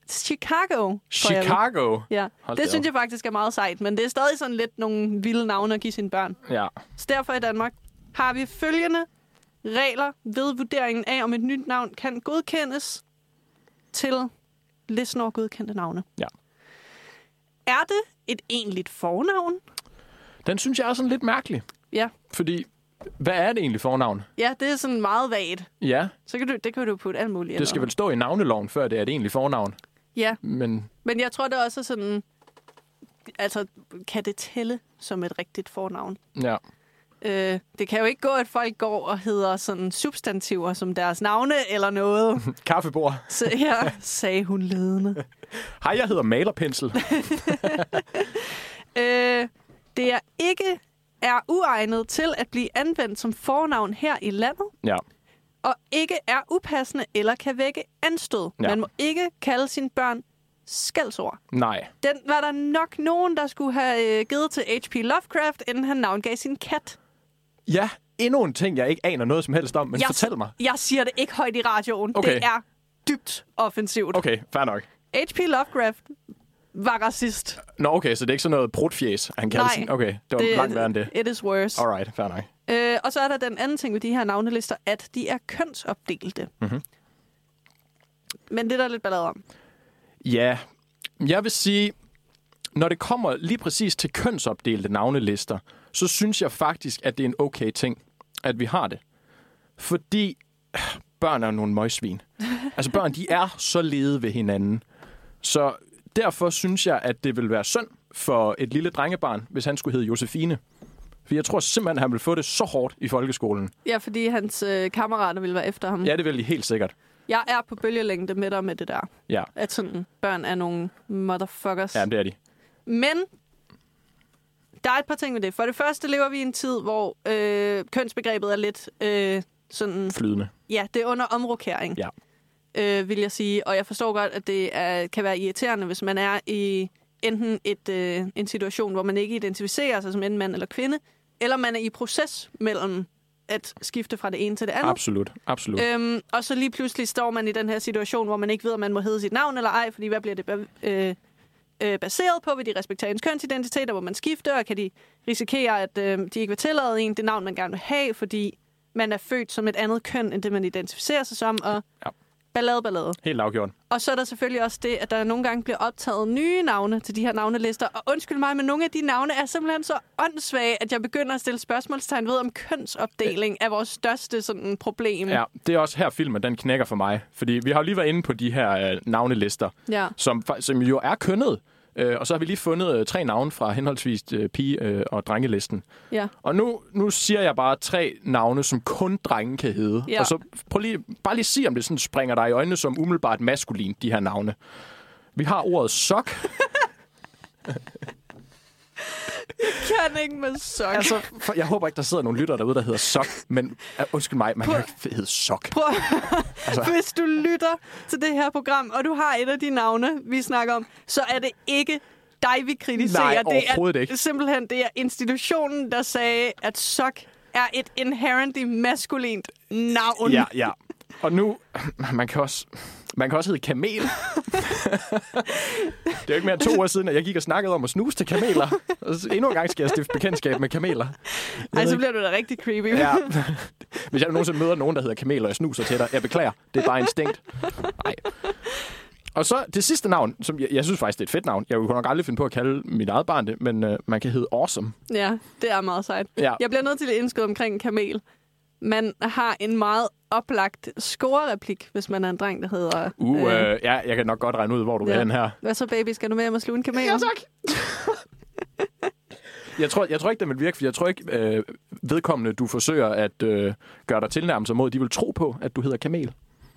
Chicago. får jeg at vide.
Chicago?
Ja,
Hold da op.
det synes jeg faktisk er meget sejt, men det er stadig sådan lidt nogle vilde navne at give sine børn.
Ja.
Så derfor i Danmark har vi følgende regler ved vurderingen af, om et nyt navn kan godkendes til listen over godkendte navne.
Ja.
Er det et egentligt fornavn?
Den synes jeg er sådan lidt mærkelig,
Ja,
fordi hvad er det egentlig fornavn?
ja det er sådan meget vagt.
Ja,
Så kan du, det kan du putte alt muligt. ind
det skal
under.
vel stå i navneloven, før det er et egentligt fornavn.
Ja,
Men
men jeg tror, det er også sådan... Altså, kan det tælle som et rigtigt fornavn?
ja,
Øh, det kan jo ikke gå, at folk går og hedder sådan substantiver som deres navne eller noget.
kaffebord.
Så her sagde hun ledende.
Hej, jeg hedder Malerpensel.
Øh, det er ikke er uegnet til at blive anvendt som fornavn her i landet,
ja,
og ikke er upassende eller kan vække anstød. Ja.
Ja.
Man må ikke kalde sine børn skældsord.
nej.
Den var der nok nogen, der skulle have øh, givet til H.P. Lovecraft, inden han navngav sin kat.
Ja, endnu en ting, jeg ikke aner noget som helst om, men
Jeg-
jeg... fortæl mig.
Jeg siger det ikke højt i radioen.
Okay.
Det er dybt offensivt.
Okay, fair nok.
H.P. Lovecraft var racist.
Nå, okay, så det er ikke sådan noget brudfjes, han kalder
Nej.
sin. Okay, det var det... langt værre end det.
It is worse.
Alright, fair nok.
Øh, og så er der den anden ting ved de her navnelister, at de er kønsopdelte. Mm-hmm. Men det er der lidt ballade om.
Ja, jeg vil sige, når det kommer lige præcis til kønsopdelte navnelister, så synes jeg faktisk, at det er en okay ting, at vi har det. Fordi øh, børn er jo nogle møgsvin. Altså børn, de er så lede ved hinanden. Så derfor synes jeg, at det vil være synd for et lille drengebarn, hvis han skulle hedde Josefine. For jeg tror simpelthen, han vil få det så hårdt i folkeskolen.
Mm. Ja, fordi hans øh, kammerater ville være efter ham.
Ja, det vil de helt sikkert.
Jeg er på bølgelængde med dig med det der.
Ja,
At sådan, børn er nogle motherfuckers.
ja det er de.
Men der er et par ting ved det. For det første lever vi i en tid, hvor øh, kønsbegrebet er lidt øh, sådan...
Flydende.
Ja, det er under omrokering,
Ja.
øh, vil jeg sige. Og jeg forstår godt, at det er, kan være irriterende, hvis man er i enten et, øh, en situation, hvor man ikke identificerer sig som enten mand eller kvinde, eller man er i proces mellem at skifte fra det ene til det andet.
Absolut. Absolut.
Øhm, og så lige pludselig står man i den her situation, hvor man ikke ved, om man må hedde sit navn eller ej, fordi hvad bliver det ba- øh, øh, baseret på? Vil de respektere ens kønsidentitet, og hvor man skifter, og kan de risikere, at øh, de ikke vil tillade en det navn, man gerne vil have, fordi man er født som et andet køn, end det man identificerer sig som, og
Ja.
ballade, ballade.
Helt afgjort.
Og så er der selvfølgelig også det, at der nogle gange bliver optaget nye navne til de her navnelister. Og undskyld mig, men nogle af de navne er simpelthen så åndssvage, at jeg begynder at stille spørgsmålstegn ved, om kønsopdeling er vores største sådan, problem.
Ja, det er også her filmen, den knækker for mig. Fordi vi har jo lige været inde på de her øh, navnelister,
ja.
som, fa- som jo er kønnet. Øh, og så har vi lige fundet øh, tre navne fra henholdsvis øh, pige- øh, og drengelisten.
Ja.
Og nu, nu siger jeg bare tre navne, som kun drenge kan hedde.
Ja.
Og så prøv lige, bare lige sige, om det sådan springer dig i øjnene som umiddelbart maskulint, de her navne. Vi har ordet sok.
Kan ikke med sok. Altså,
altså, for, jeg håber ikke, der sidder nogle lytter derude, der hedder sok. Men uh, undskyld mig, man kan jo ikke hedde sok.
Prøv,
Altså.
hvis du lytter til det her program, og du har et af de navne, vi snakker om, så er det ikke dig, vi kritiserer.
Nej,
det
overhovedet
er
ikke.
simpelthen det er institutionen, der sagde, at sok er et inherently maskulint navn.
Ja, ja. Og nu, man kan også, man kan også hedde kamel. det er jo ikke mere end to år siden, at jeg gik og snakkede om at snuse til kameler. Og så endnu en gang skal jeg stifte bekendtskab med kameler. Jeg
Ej,
ved
så
ikke-
bliver du da rigtig creepy.
Ja. Hvis jeg nogensinde møder nogen, der hedder kamel, og jeg snuser til dig, jeg beklager. Det er bare instinkt. Nej. Og så det sidste navn, som jeg, jeg synes faktisk, det er et fedt navn. Jeg kunne nok aldrig finde på at kalde mit eget barn det, men øh, man kan hedde Awesome.
ja det er meget sejt.
Ja.
Jeg bliver nødt til at indskyde omkring en kamel. Man har en meget oplagt scorereplik, hvis man er en dreng, der hedder...
Uh, øh, ja, jeg kan nok godt regne ud, hvor du ja.
Ja.
vil hen her.
Hvad så, baby? Skal du med hjem og sluge en kamel? Ja, tak.
Jeg tror, jeg tror ikke, den vil virke, for jeg tror ikke, øh, vedkommende, du forsøger at øh, gøre dig tilnærmelser mod, de vil tro på, at du hedder Kamel.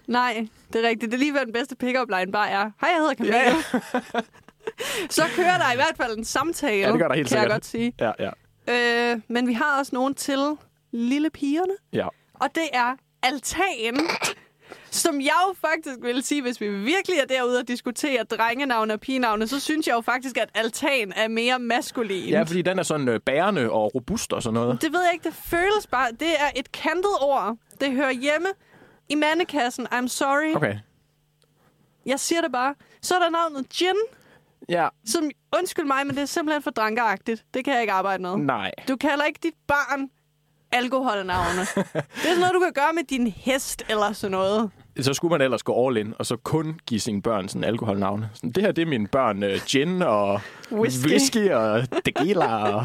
Nej, det er rigtigt. Det er lige, hvad den bedste pick-up line bare er. Hej, jeg hedder Camilla. Ja. så kører der i hvert fald en samtale,
Ja, det gør der helt
kan jeg
sikkert.
godt sige.
Ja, ja,
Øh, men vi har også nogen til lille pigerne,
ja.
og det er altan. Som jeg jo faktisk ville sige, hvis vi virkelig er derude og diskuterer drengenavne og pigenavne, så synes jeg jo faktisk, at altan er mere maskulin.
Ja, fordi den er sådan øh, bærende og robust og sådan noget.
Det ved jeg ikke, det føles bare... Det er et kantet ord. Det hører hjemme i mandekassen. I'm sorry.
Okay.
Jeg siger det bare. Så er der navnet Gin,
Ja,
som, undskyld mig, men det er simpelthen for drankeragtigt. Det kan jeg ikke arbejde med.
nej.
Du kalder ikke dit barn alkoholnavne. det er sådan noget, du kan gøre med din hest eller sådan noget.
Så skulle man ellers gå all in, og så kun give sine børn sådan alkoholnavne. Sådan, det her, det er mine børn øh, gin og
Whisky.
whisky og tequila. Og...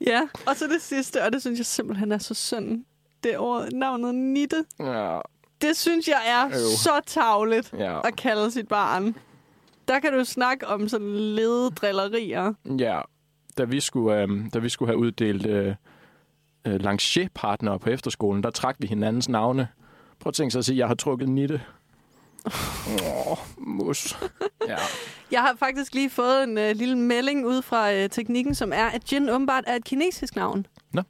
Ja, og så det sidste, og det synes jeg simpelthen er så synd. Det er ordet, navnet Nitte.
Ja,
Det synes jeg er
Øv.
så tavligt
ja,
at kalde sit barn. Der kan du snakke om sådan lededrillerier.
ja. Da vi skulle, øh, da vi skulle have uddelt øh, øh, partnere på efterskolen, der trak vi hinandens navne. Prøv at tænke sig at sige, at jeg har trukket nitte. Åh, oh, mus. Ja.
Jeg har faktisk lige fået en øh, lille melding ud fra øh, teknikken, som er, at Jin åbenbart er et kinesisk navn.
Nå.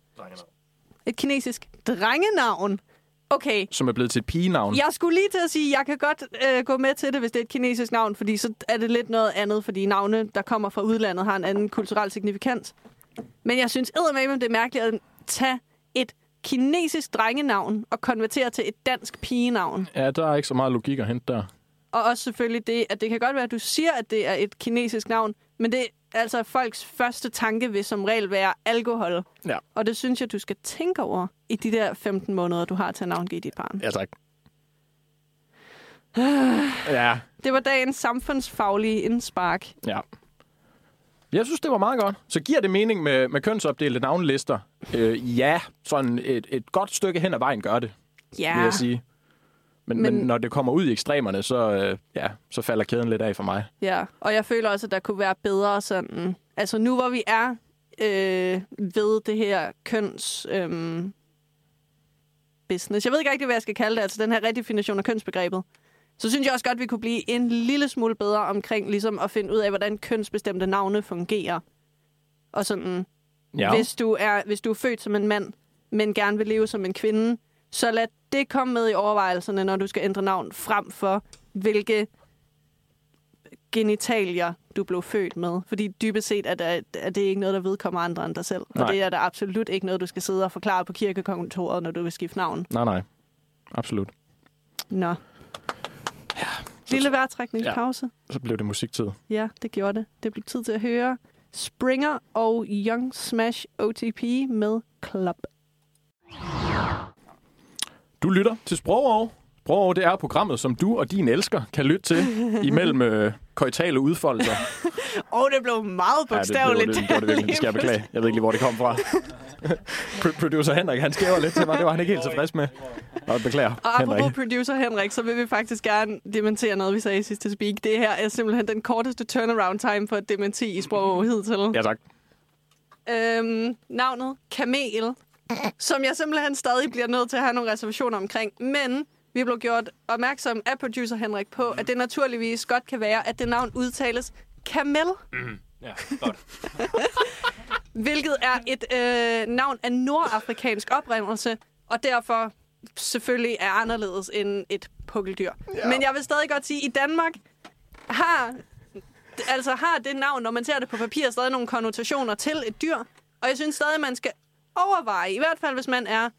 Et kinesisk drengenavn. Okay,
Som er blevet til et pigenavn.
jeg skulle lige til at sige, at jeg kan godt øh, gå med til det, hvis det er et kinesisk navn, fordi så er det lidt noget andet, fordi navne, der kommer fra udlandet, har en anden kulturel signifikans. Men jeg synes eddermame, det er mærkeligt at tage et kinesisk drengenavn og konvertere til et dansk pigenavn.
Ja, der er ikke så meget logik at hente der.
Og også selvfølgelig det, at det kan godt være, at du siger, at det er et kinesisk navn, men det er altså folks første tanke vil som regel være alkohol.
Ja.
Og det synes jeg, du skal tænke over i de der 15 måneder, du har til at navngive dit barn.
Ja, tak. ja,
Det var dagens samfundsfaglige indspark.
Ja. Jeg synes, det var meget godt. Så giver det mening med, med kønsopdelte navnelister? Øh, ja, sådan et, et godt stykke hen ad vejen gør det,
Ja.
vil jeg sige. Men, men...
Men-
men når det kommer ud i ekstremerne, så, øh, ja, så falder kæden lidt af for mig.
Ja, og jeg føler også, at der kunne være bedre sådan... Altså nu, hvor vi er øh, ved det her køns... Øh, business. Jeg ved ikke rigtig, hvad jeg skal kalde det, altså den her redefinition af kønsbegrebet. Så synes jeg også godt, vi kunne blive en lille smule bedre omkring ligesom at finde ud af, hvordan kønsbestemte navne fungerer. Og sådan, ja. hvis, du er, hvis du er født som en mand, men gerne vil leve som en kvinde, så lad det komme med i overvejelserne, når du skal ændre navn, frem for hvilke genitalier du blev født med. Fordi dybest set er det, er det ikke noget, der vedkommer andre end dig selv. Nej.
Nej.
Og det er da absolut ikke noget, du skal sidde og forklare på kirkekontoret, når du vil skifte navn.
Nej, nej. Absolut.
Nå. Lille vejrtrækningspause.
Så blev det musiktid.
Ja. ja, det gjorde det. Det blev tid til at høre Springer og Young Smash OTP med Club.
Du lytter til Sprogov. Sprogov, det er programmet, som du og din elsker kan lytte til imellem øh, koitale udfoldelser.
Åh, oh, det blev meget
Ja, det, det, det, det, det, gjorde det, virkelig. det skal jeg beklage. Jeg ved ikke lige, hvor det kom fra. Pro- Producer Henrik, han skæver lidt til mig. Det var han ikke helt tilfreds med. Og beklager,
Og apropos
Henrik.
Henrik. producer Henrik, så vil vi faktisk gerne dementere noget, vi sagde i sidste speak. Det her er simpelthen den korteste turnaround time for at dementi i sprog hidtil.
Ja, tak.
Øhm, navnet Kamel, som jeg simpelthen stadig bliver nødt til at have nogle reservationer omkring. Men vi blev gjort opmærksom af producer Henrik på, at det naturligvis godt kan være, at det navn udtales Kamel.
Mhm. Ja, godt.
hvilket er et øh, navn af nordafrikansk oprindelse, og derfor selvfølgelig er anderledes end et pukkeldyr. Ja. Men jeg vil stadig godt sige, at i Danmark har, altså har det navn, når man ser det på papir, stadig nogle konnotationer til et dyr, og jeg synes stadig, man skal overveje, i hvert fald hvis man er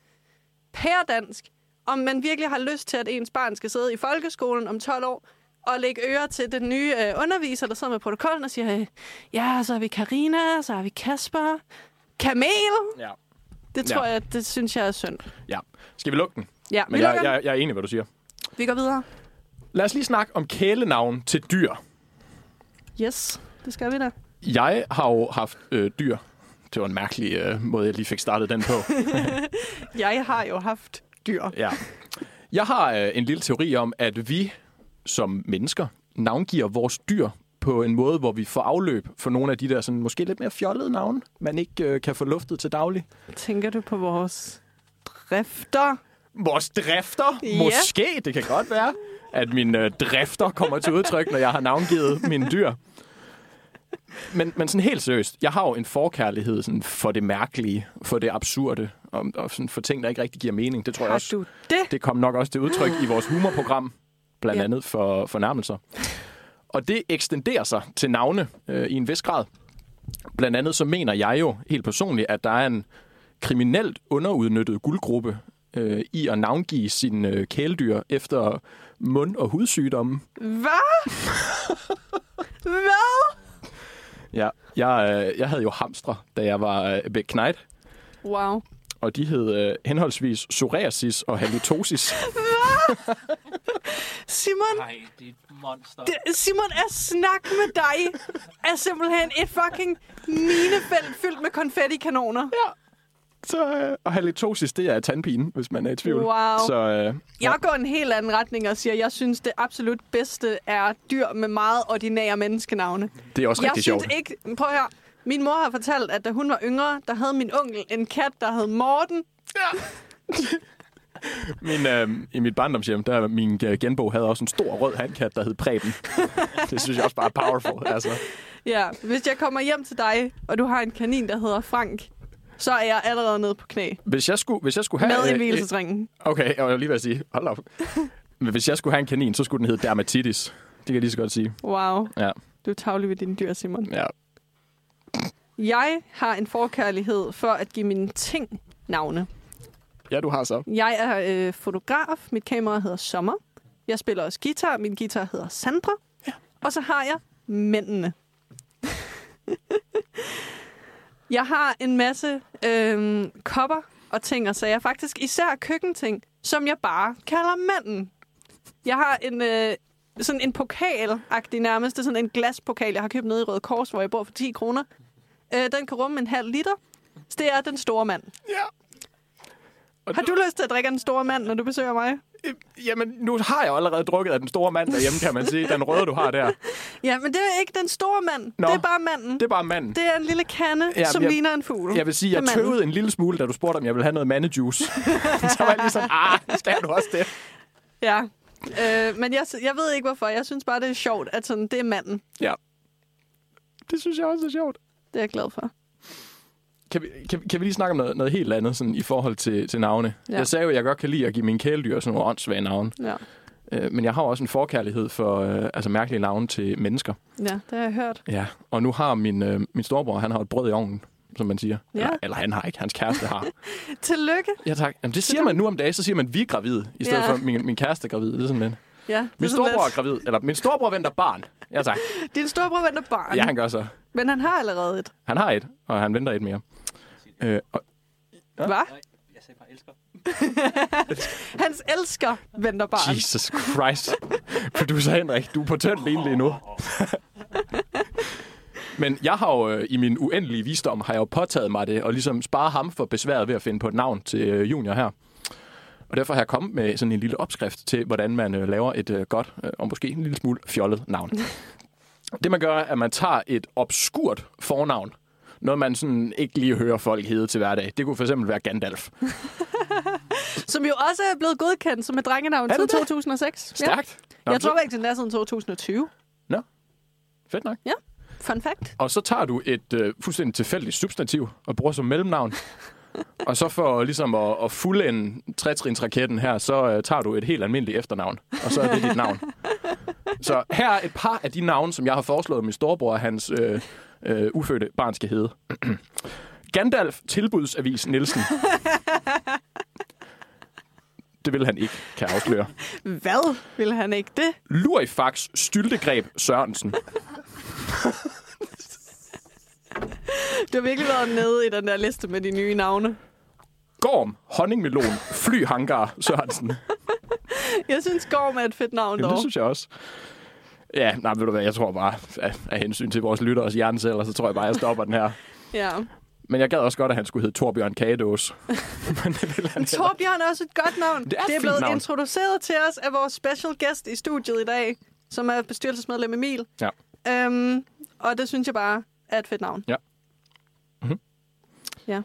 pærdansk, om man virkelig har lyst til, at ens barn skal sidde i folkeskolen om 12 år og lægge ører til den nye øh, underviser, der sidder med protokollen og siger, øh, ja, så har vi Karina, så har vi Kasper. Kamel!
Ja.
Det
Ja.
tror ja. jeg, det synes jeg er synd.
ja. Skal vi lukke den?
Ja, vi,
Men jeg,
lukker den.
jeg, jeg er enig, i, hvad du siger.
vi går videre.
Lad os lige snakke om kælenavn til dyr.
Yes, det skal vi da.
Jeg har jo haft øh, dyr. Det var en mærkelig øh, måde, jeg lige fik startet den på.
Jeg har jo haft dyr.
Ja. Jeg har øh, en lille teori om, at vi som mennesker navngiver vores dyr på en måde, hvor vi får afløb for nogle af de der sådan, måske lidt mere fjollede navne, man ikke øh, kan få luftet til daglig.
Tænker du på vores drifter?
Vores drifter?
Ja.
Måske, det kan godt være, at min øh, drifter kommer til udtryk, når jeg har navngivet mine dyr. Men, men sådan helt seriøst, jeg har jo en forkærlighed sådan, for det mærkelige, for det absurde, og, og sådan, for ting, der ikke rigtig giver mening. Det tror jeg
Har
også,
du det?
det kom nok også til udtryk i vores humorprogram, blandt
Ja.
andet for fornærmelser. Og det ekstenderer sig til navne øh, i en vis grad. Blandt andet så mener jeg jo helt personligt, at der er en kriminelt underudnyttet guldgruppe øh, i at navngive sine øh, kæledyr efter mund- og hudsygdomme.
Hvad? Hvad?
Ja, jeg, øh, jeg havde jo hamstre, da jeg var øh, knejt,
Wow.
og de hed øh, henholdsvis psoriasis og halitosis.
Simon,
Nej, det er et monster.
Det- Simon, at snakke med dig er simpelthen et fucking minefelt fyldt med konfettikanoner.
Så, øh, og halitosis, det er tandpine, hvis man er i tvivl.
Wow.
Så, øh,
Jeg går en helt anden retning og siger, at jeg synes, det absolut bedste er dyr med meget ordinære menneskenavne.
Det er også
Jeg
rigtig
synes
sjovt.
ikke... Prøv at høre. Min mor har fortalt, at da hun var yngre, der havde min onkel en kat, der hed Morten.
Min, øh, I mit barndomshjem, der min øh, genbo havde også en stor rød handkat, der hed Preben. det synes jeg også bare er powerful. Altså.
Ja, hvis jeg kommer hjem til dig, og du har en kanin, der hedder Frank, så er jeg allerede nede på knæ
Hvis, jeg skulle, hvis jeg skulle have...
med i
øh, øh,
hvilesesringen.
Okay, jeg var lige ved at sige, hold da op. Men hvis jeg skulle have en kanin, så skulle den hedde Dermatitis. Det kan jeg lige så godt sige.
Wow,
Ja,
du er tavlig ved dine dyr, Simon.
ja.
Jeg har en forkærlighed for at give mine ting navne.
ja du har så.
Jeg er øh, fotograf. Mit kamera hedder Sommer. Jeg spiller også guitar. Min guitar hedder Sandra. Ja. Og så har jeg mændene. jeg har en masse øh, kopper og ting og sager. Faktisk især køkkenting, som jeg bare kalder manden. Jeg har en... Øh, sådan en pokal-agtig nærmest. Det er sådan en glaspokal, jeg har købt nede i Røde Kors, hvor jeg bor for 10 kroner. Øh, den kan rumme en halv liter. Så det er den store mand. Har du lyst til at drikke af den store mand, når du besøger mig?
Øhm, Jamen, nu har jeg jo allerede drukket af den store mand derhjemme, kan man sige. Den røde, du har der.
Ja, men det er ikke den store mand.
Nå.
Det er bare manden.
Det er bare manden.
Det er en lille kande, ja,
Ja,
som jeg,
jeg-
ligner en fugl.
Jeg vil sige, jeg
Det er manden.
tøvede en lille smule, da du spurgte, om jeg ville have noget mandejuice. så var jeg lige sådan, ah, skal du også det?
Ja. Øh, men jeg, jeg ved ikke, hvorfor. Jeg synes bare, det er sjovt, at sådan, det er manden.
Ja. Det synes jeg også er sjovt.
Det er jeg glad for.
Kan vi, kan, vi- kan vi lige snakke om noget, noget helt andet sådan, i forhold til, til navne?
Ja.
Ja. Jeg sagde jo, at jeg godt kan lide at give mine kæledyr sådan nogle åndssvage navne.
Ja.
Øh, men jeg har også en forkærlighed for øh, altså mærkelige navne til mennesker.
ja, det har jeg hørt.
Ja. Og nu har min, øh, min storebror, han har et brød i ovnen, som man siger.
Ja.
Eller, eller han har ikke, hans kæreste har.
Tillykke.
ja, tak. Jamen, det siger man nu om dagen, så siger man, vi er gravide, i stedet
Ja.
ja. for min, min kæreste er gravid. Det er sådan lidt.
Ja, det er
Min
sådan
storebror er
lidt-
gravid, eller min storebror venter barn. Ja, tak.
Din storebror venter barn,
Ja,
ja.
han gør så.
men han har allerede et.
Han har et, og han venter et mere. Øh, og,
Hva?
Nej, jeg sagde bare elsker.
Hans elsker venter barn.
Jesus Christ. Producer Henrik, du er på tynd ben lige nu. Men jeg har jo øh, i min uendelige visdom, har jeg jo påtaget mig det, og ligesom sparet ham for besværet ved at finde på et navn til øh, junior her. Og derfor har jeg kommet med sådan en lille opskrift til, hvordan man øh, laver et øh, godt, øh, og måske en lille smule fjollet navn. Det man gør, er, at man tager et obskurt fornavn. Noget, man sådan ikke lige hører folk hedde til hverdag. Det kunne for eksempel være Gandalf.
Som jo også er blevet godkendt som et drengenavn
Er
siden
det
2006.
Stærkt.
Ja.
Nå,
Jeg
så-
tror ikke, den er siden 2020.
Fedt nok.
Fun fact.
Og så tager du et øh, fuldstændig tilfældigt substantiv og bruger som mellemnavn. og så for ligesom at, at fuldende trætrinsraketten her, så øh, tager du et helt almindeligt efternavn. Og så er det dit navn. Så her er et par af de navne, som jeg har foreslået min storebror og hans øh, øh, ufødte barn skal hedde. Gandalf Tilbudsavis Nielsen. Det vil han ikke, kan jeg afsløre.
Hvad ville han ikke det?
Lurifax Styltegreb Sørensen.
Du har virkelig været nede i den der liste med de nye navne.
Gorm Honningmelon Flyhangar Sørensen.
Jeg synes, Gorm er et fedt navn
Jamen,
dog.
det synes jeg også. Ja, nej, ved du hvad, jeg tror bare, af, af hensyn til vores lytteres hjerneceller, så tror jeg bare, jeg stopper den her.
Ja.
Men jeg gad også godt, at han skulle hedde Torbjørn Kagedås. Men det ville han heller.
Torbjørn er også et godt navn.
Det er et
det er
fint
blevet
navn.
introduceret til os af vores special guest i studiet i dag, som er bestyrelsesmedlem Emil.
Ja.
Øhm, og det synes jeg bare er et fedt navn.
Ja.
Mm-hmm.
Mhm.
Ja.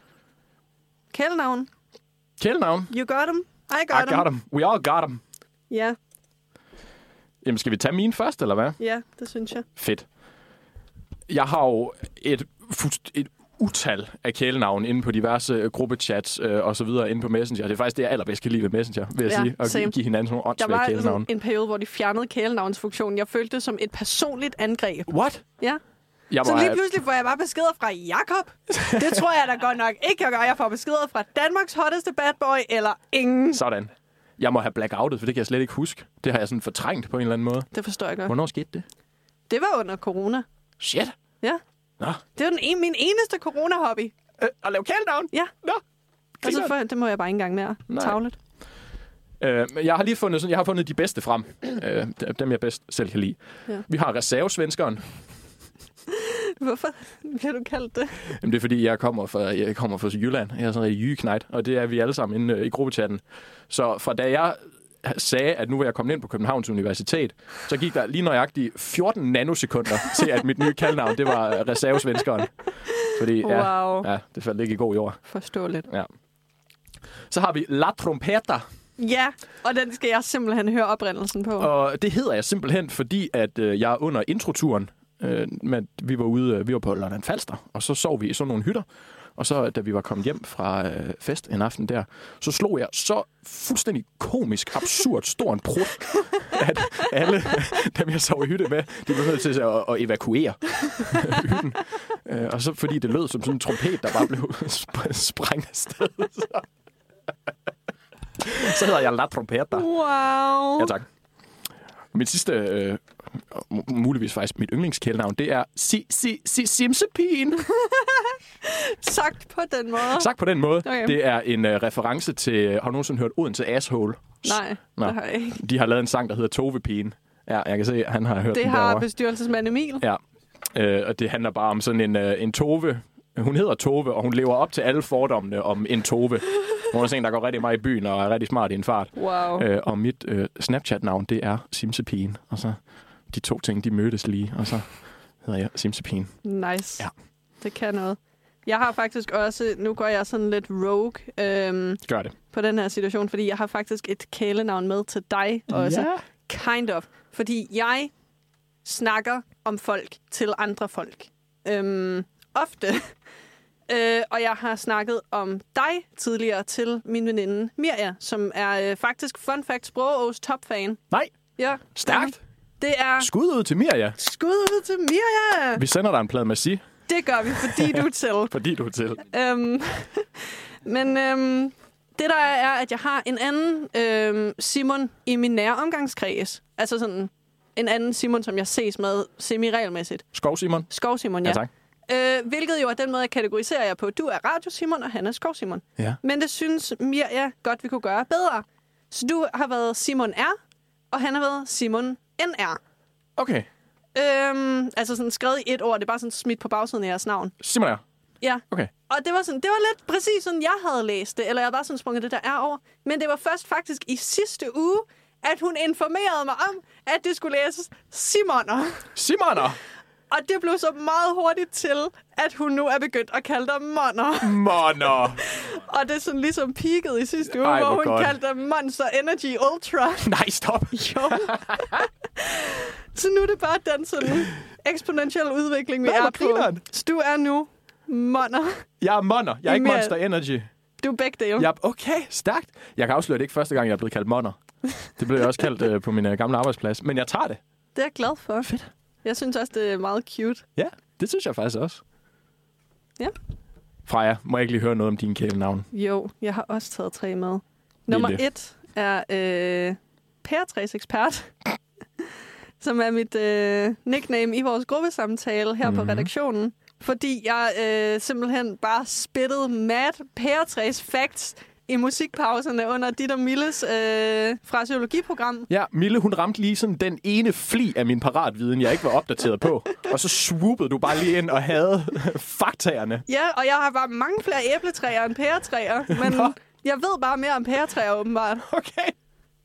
Kælenavn.
Kælenavn.
You got them. I got,
I got him. We all got him.
Ja,
Jamen, skal vi tage min først, eller hvad?
ja, det synes jeg.
Fedt. Jeg har jo et, fust- et utal af kælenavne inde på diverse gruppechats øh, og så videre inde på Messenger. Det er faktisk det, jeg allerbedst kan lide ved Messenger, vil jeg
Ja,
sige. Og
same.
give, give hinanden sådan nogle
Der
åndssvage
var
kælenavne.
sådan en periode, hvor de fjernede kælenavnsfunktionen. Jeg følte det som et personligt angreb.
What?
Ja.
Jeg øh,
Så
må
lige
have-
pludselig får jeg bare beskeder fra Jakob. Det tror jeg da godt nok ikke, jeg gør. Jeg får beskeder fra Danmarks hotteste bad boy, eller ingen.
Sådan. Jeg må have blackoutet, for det kan jeg slet ikke huske. Det har jeg sådan fortrængt på en eller anden måde.
Det forstår jeg godt.
Hvornår skete det?
Det var under corona.
Shit.
Ja.
Nå.
Det var den en, min eneste corona-hobby.
Øh, at lave countdown?
Ja.
Nå.
Og så
Grineren.
for, det må jeg bare ikke engang mere.
Nej.
Tavlet.
Øh, men jeg har lige fundet, sådan, jeg har fundet de bedste frem. Øh, d- dem, jeg bedst selv kan lide.
Ja.
Ja. Vi har reservesvenskeren.
Hvorfor bliver du kaldt det?
Jamen, det er fordi, jeg kommer fra, jeg kommer fra Jylland. Jeg er sådan en jyknejt, og det er vi alle sammen inde øh, i gruppechatten. Så fra da jeg sagde, at nu var jeg kommet ind på Københavns Universitet, så gik der lige nøjagtigt 14 nanosekunder til, at mit nye kaldnavn, det var øh, reservesvenskeren. Fordi, ja,
Wow.
ja, det faldt ikke i god jord.
Forståeligt.
Ja. Så har vi La Trompeta,
Ja, og den skal jeg simpelthen høre oprindelsen på.
og det hedder jeg simpelthen, fordi at øh, jeg er under introturen, øh, men vi var ude, øh, vi var på Lolland Falster, og så sov vi i sådan nogle hytter, og så da vi var kommet hjem fra øh, fest en aften der, så slog jeg så fuldstændig komisk, absurd stor en prut, at alle dem, jeg sov i hytte med, de blev nødt til at, at evakuere hytten. Øh, og så fordi det lød som sådan en trompet, der bare blev sp- sprængt afsted. Så. så hedder jeg La Trompeta.
Wow.
Ja, tak. Mit sidste, øh, mu- muligvis faktisk mit yndlingskælenavn, det er si, si, si, Simsepin.
Sagt på den måde.
Sagt på den måde,
Okay.
okay. det er en øh, reference til, har du nogensinde hørt Odense Asshole?
Nej,
Nå.
det har jeg ikke.
De har lavet en sang, der hedder Tovepigen. Ja, jeg kan se, han har hørt
Det
den
har
derovre.
bestyrelsesmand Emil.
Ja, øh, og det handler bare om sådan en, øh, en Tove. Hun hedder Tove, og hun lever op til alle fordommene om en Tove. Hun er sådan en, der går rigtig meget i byen og er rigtig smart i en fart.
Wow.
Øh, og mit øh, Snapchat-navn, det er Simsepigen. Og så de to ting, de mødtes lige, og så hedder jeg Simsepigen.
Nice.
Ja.
Det kan noget. Jeg har faktisk også, nu går jeg sådan lidt rogue øhm,
Gør det.
på den her situation, fordi jeg har faktisk et kælenavn med til dig også.
Ja.
Kind of. Fordi jeg snakker om folk til andre folk. Øhm, ofte. Øh, og jeg har snakket om dig tidligere til min veninde Mirja, som er øh, faktisk, fun fact, Sprogås topfan.
Nej,
Ja,
stærkt.
det er
Skud ud til Mirja.
skud ud til Mirja!
Vi sender dig en plade med si,
Det gør vi, fordi du er til.
fordi du er til.
Øhm, men øhm, det der er, er, at jeg har en anden øhm, Simon i min nære omgangskreds. Altså sådan en anden Simon, som jeg ses med semi-regelmæssigt.
Skov, Simon.
Skov Simon, ja.
Ja, tak.
Øh, hvilket jo er den måde, jeg kategoriserer jer på. Du er Radio Simon, og han er Skov Simon.
Ja.
Men det synes Mirja godt, vi kunne gøre bedre. Så du har været Simon R, og han har været Simon NR.
Okay.
Øhm, altså sådan skrevet i et ord, det er bare sådan smidt på bagsiden af jeres navn.
Simon er.
Ja.
Okay.
Og det var, sådan, det var lidt præcis sådan, jeg havde læst det, eller jeg var sådan sprunget det der er over. Men det var først faktisk i sidste uge, at hun informerede mig om, at det skulle læses Simoner.
Simon er.
Og det blev så meget hurtigt til, at hun nu er begyndt at kalde dig Monner.
Monner.
Og det er sådan ligesom peaked i sidste uge,
Ej,
hvor
hvor
hun
godt.
kaldte dig Monster Energy Ultra.
Nej, stop.
Jo. så nu er det bare den sådan eksponentielle udvikling, vi
Nej, hvor
er på.
grineren.
Så du er nu Monner.
Jeg er Monner. Jeg er ikke
Jamen, jeg-
Monster Energy.
Du er begge dele.
Jeg er okay, stærkt. Jeg kan afsløre, at det ikke er første gang, jeg er blevet kaldt Monner. Det blev jeg også kaldt øh, på min øh, gamle arbejdsplads. Men jeg tager det.
Det er jeg glad for. Fedt. Jeg synes også, det er meget cute.
Ja, det synes jeg faktisk også.
Ja.
Freja, må jeg ikke lige høre noget om din kælenavn?
Jo, jeg har også taget tre med. Nummer
Vildt.
et er øh, Pærtræs ekspert, som er mit øh, nickname i vores gruppesamtale her mm-hmm. på redaktionen. Fordi jeg øh, simpelthen bare spittede mad pæretræs facts i musikpauserne under dit og Milles øh, fraseologiprogram.
Ja, Mille, hun ramte lige sådan den ene fli af min paratviden, jeg ikke var opdateret på. Og så swoopede du bare lige ind og havde faktaerne.
Ja, og jeg har bare mange flere æbletræer end pæretræer, men
Nå.
jeg ved bare mere om pæretræer åbenbart.
Okay.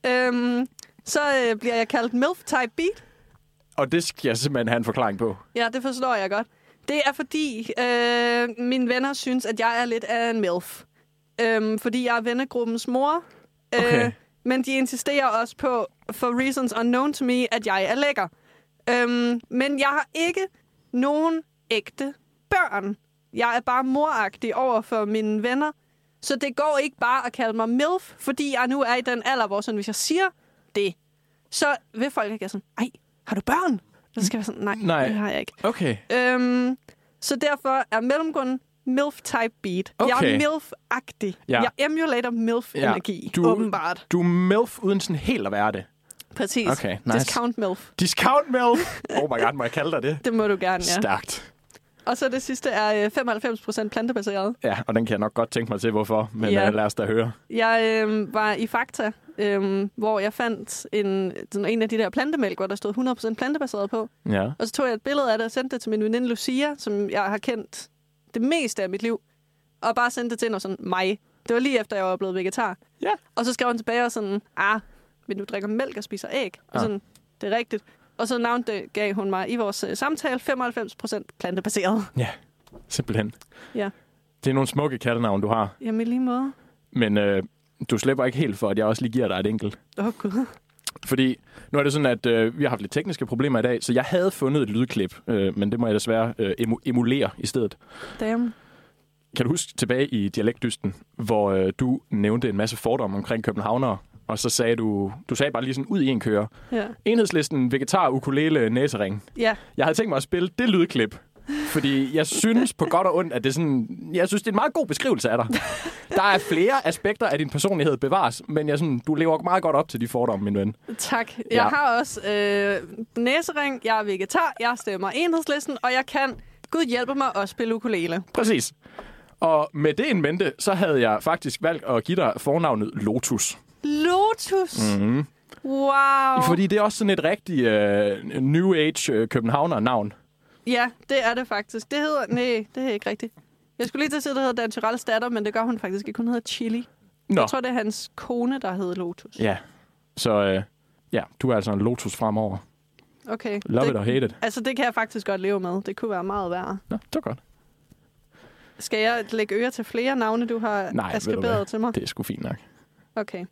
Øhm, så øh, bliver jeg kaldt MILF Type Beat.
Og det skal jeg simpelthen have en forklaring på.
Ja, det forstår jeg godt. Det er fordi, øh, mine venner synes, at jeg er lidt af en MILF. Øhm, fordi jeg er vennegruppens mor. Øh,
Okay.
Men de insisterer også på, for reasons unknown to me, at jeg er lækker. Øhm, men jeg har ikke nogen ægte børn. Jeg er bare moragtig over for mine venner. Så det går ikke bare at kalde mig MILF, fordi jeg nu er i den alder, hvor sådan, hvis jeg siger det, så vil folk ikke være sådan, ej, har du børn? Så skal jeg være sådan, nej,
Nej.
Nej. det har jeg ikke.
Okay.
Øhm, så derfor er mellemgrunden MILF-type beat. Jeg
Okay.
er MILF-agtig.
Ja.
Ja. Jeg emulater MILF-energi, ja.
Du-
åbenbart.
Du er MILF uden sådan helt at være det.
Præcis.
Okay, nice.
Discount MILF.
Discount MILF! Oh my god, må jeg kalde dig det?
Det må du gerne, ja.
Stærkt.
Og så det sidste er øh, 95% plantebaseret.
Ja, og den kan jeg nok godt tænke mig til, hvorfor. Men
Ja.
yeah. lad os da høre.
Jeg øh, var i Fakta, øh, hvor jeg fandt en, sådan en af de der plantemælk, hvor der stod 100% plantebaseret på.
Ja.
Og så tog jeg et billede af det og sendte det til min veninde Lucia, som jeg har kendt det meste af mit liv. Og bare sendte det til hende og sådan, mig. Det var lige efter, jeg var blevet vegetar.
Ja.
Og så skrev hun tilbage og sådan, ah, men du drikker mælk og spiser æg. Og
Ah.
sådan, det er rigtigt. Og så navn det gav hun mig i vores øh, samtale 95% plantebaseret.
Ja, simpelthen.
Ja.
Det er nogle smukke kattenavn, du har.
Jamen i lige måde.
Men øh, du slipper ikke helt for, at jeg også lige giver dig et enkelt.
Åh oh, gud.
Fordi nu er det sådan, at øh, vi har haft lidt tekniske problemer i dag, så jeg havde fundet et lydklip, øh, men det må jeg desværre øh, emu- emulere i stedet.
Damn.
Kan du huske tilbage i Dialektdysten, hvor øh, du nævnte en masse fordomme omkring københavnere, og så sagde du, du sagde bare lige sådan ud i en kører,
Ja.
enhedslisten, vegetar, ukulele, næsering.
ja.
Jeg havde tænkt mig at spille det lydklip, fordi jeg synes på godt og ondt, at det er sådan, jeg synes, det er en meget god beskrivelse af dig. Der er flere aspekter af din personlighed bevares, men jeg sådan, du lever meget godt op til de fordomme, min ven.
Tak. Jeg
Ja.
ja. har også øh, næsering, jeg er vegetar, jeg stemmer enhedslisten, og jeg kan, Gud hjælpe mig, også spille ukulele.
Præcis. Og med det in mente, så havde jeg faktisk valgt at give dig fornavnet Lotus.
Lotus! Mm-hmm. Wow!
Mhm. Fordi det er også sådan et rigtigt øh, New Age øh, københavner-navn.
Ja, det er det faktisk. Det hedder... Nej, det er ikke rigtigt. Jeg skulle lige til at sige, at det hedder Dan Tyrells datter, men det gør hun faktisk ikke. Hun hedder Chili.
Nå,
Jeg tror, det er hans kone, der hed Lotus.
ja. Så øh, ja, du er altså en lotus fremover.
Okay.
Love
det,
it or hate it.
Altså, det kan jeg faktisk godt leve med. Det kunne være meget værre.
Nå, det var godt.
Skal jeg lægge øre til flere navne, du
Nej,
har
ved du hvad?
askriberet til mig?
Det er sgu fint nok.
Okay.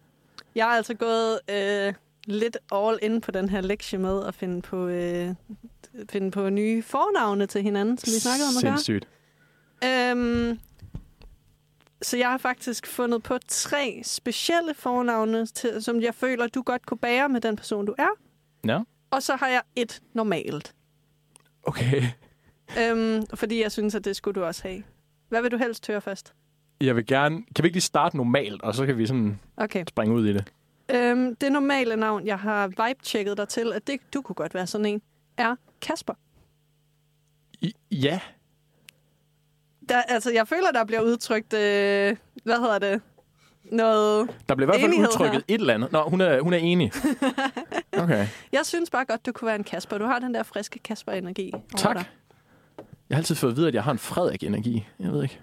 Jeg er altså gået øh, lidt all in på den her lektie med at finde på, øh, finde på nye fornavne til hinanden, som vi snakkede om at gøre.
Sindssygt.
Øhm, så jeg har faktisk fundet på tre specielle fornavne, til, som jeg føler, du godt kunne bære med den person, du er.
Nå,
Og så har jeg et normalt.
okay.
Øhm, fordi jeg synes, at det skulle du også have. Hvad vil du helst høre først?
Jeg vil gerne... Kan vi ikke lige starte normalt, og så kan vi sådan
Okay.
springe ud i det?
Øhm, det normale navn, jeg har vibe-checket dig til, at det, du kunne godt være sådan en, er Kasper.
I, ja.
Der, altså, jeg føler, der bliver udtrykt, øh, hvad hedder det, noget...
Der blev i hvert fald
Enighed
udtrykket et eller andet. Nå, hun er, hun er enig. Okay,
Jeg synes bare godt, du kunne være en Kasper. Du har den der friske Kasper-energi over
tak.
dig.
Jeg har altid fået at vide, at jeg har en Frederik-energi. Jeg ved ikke.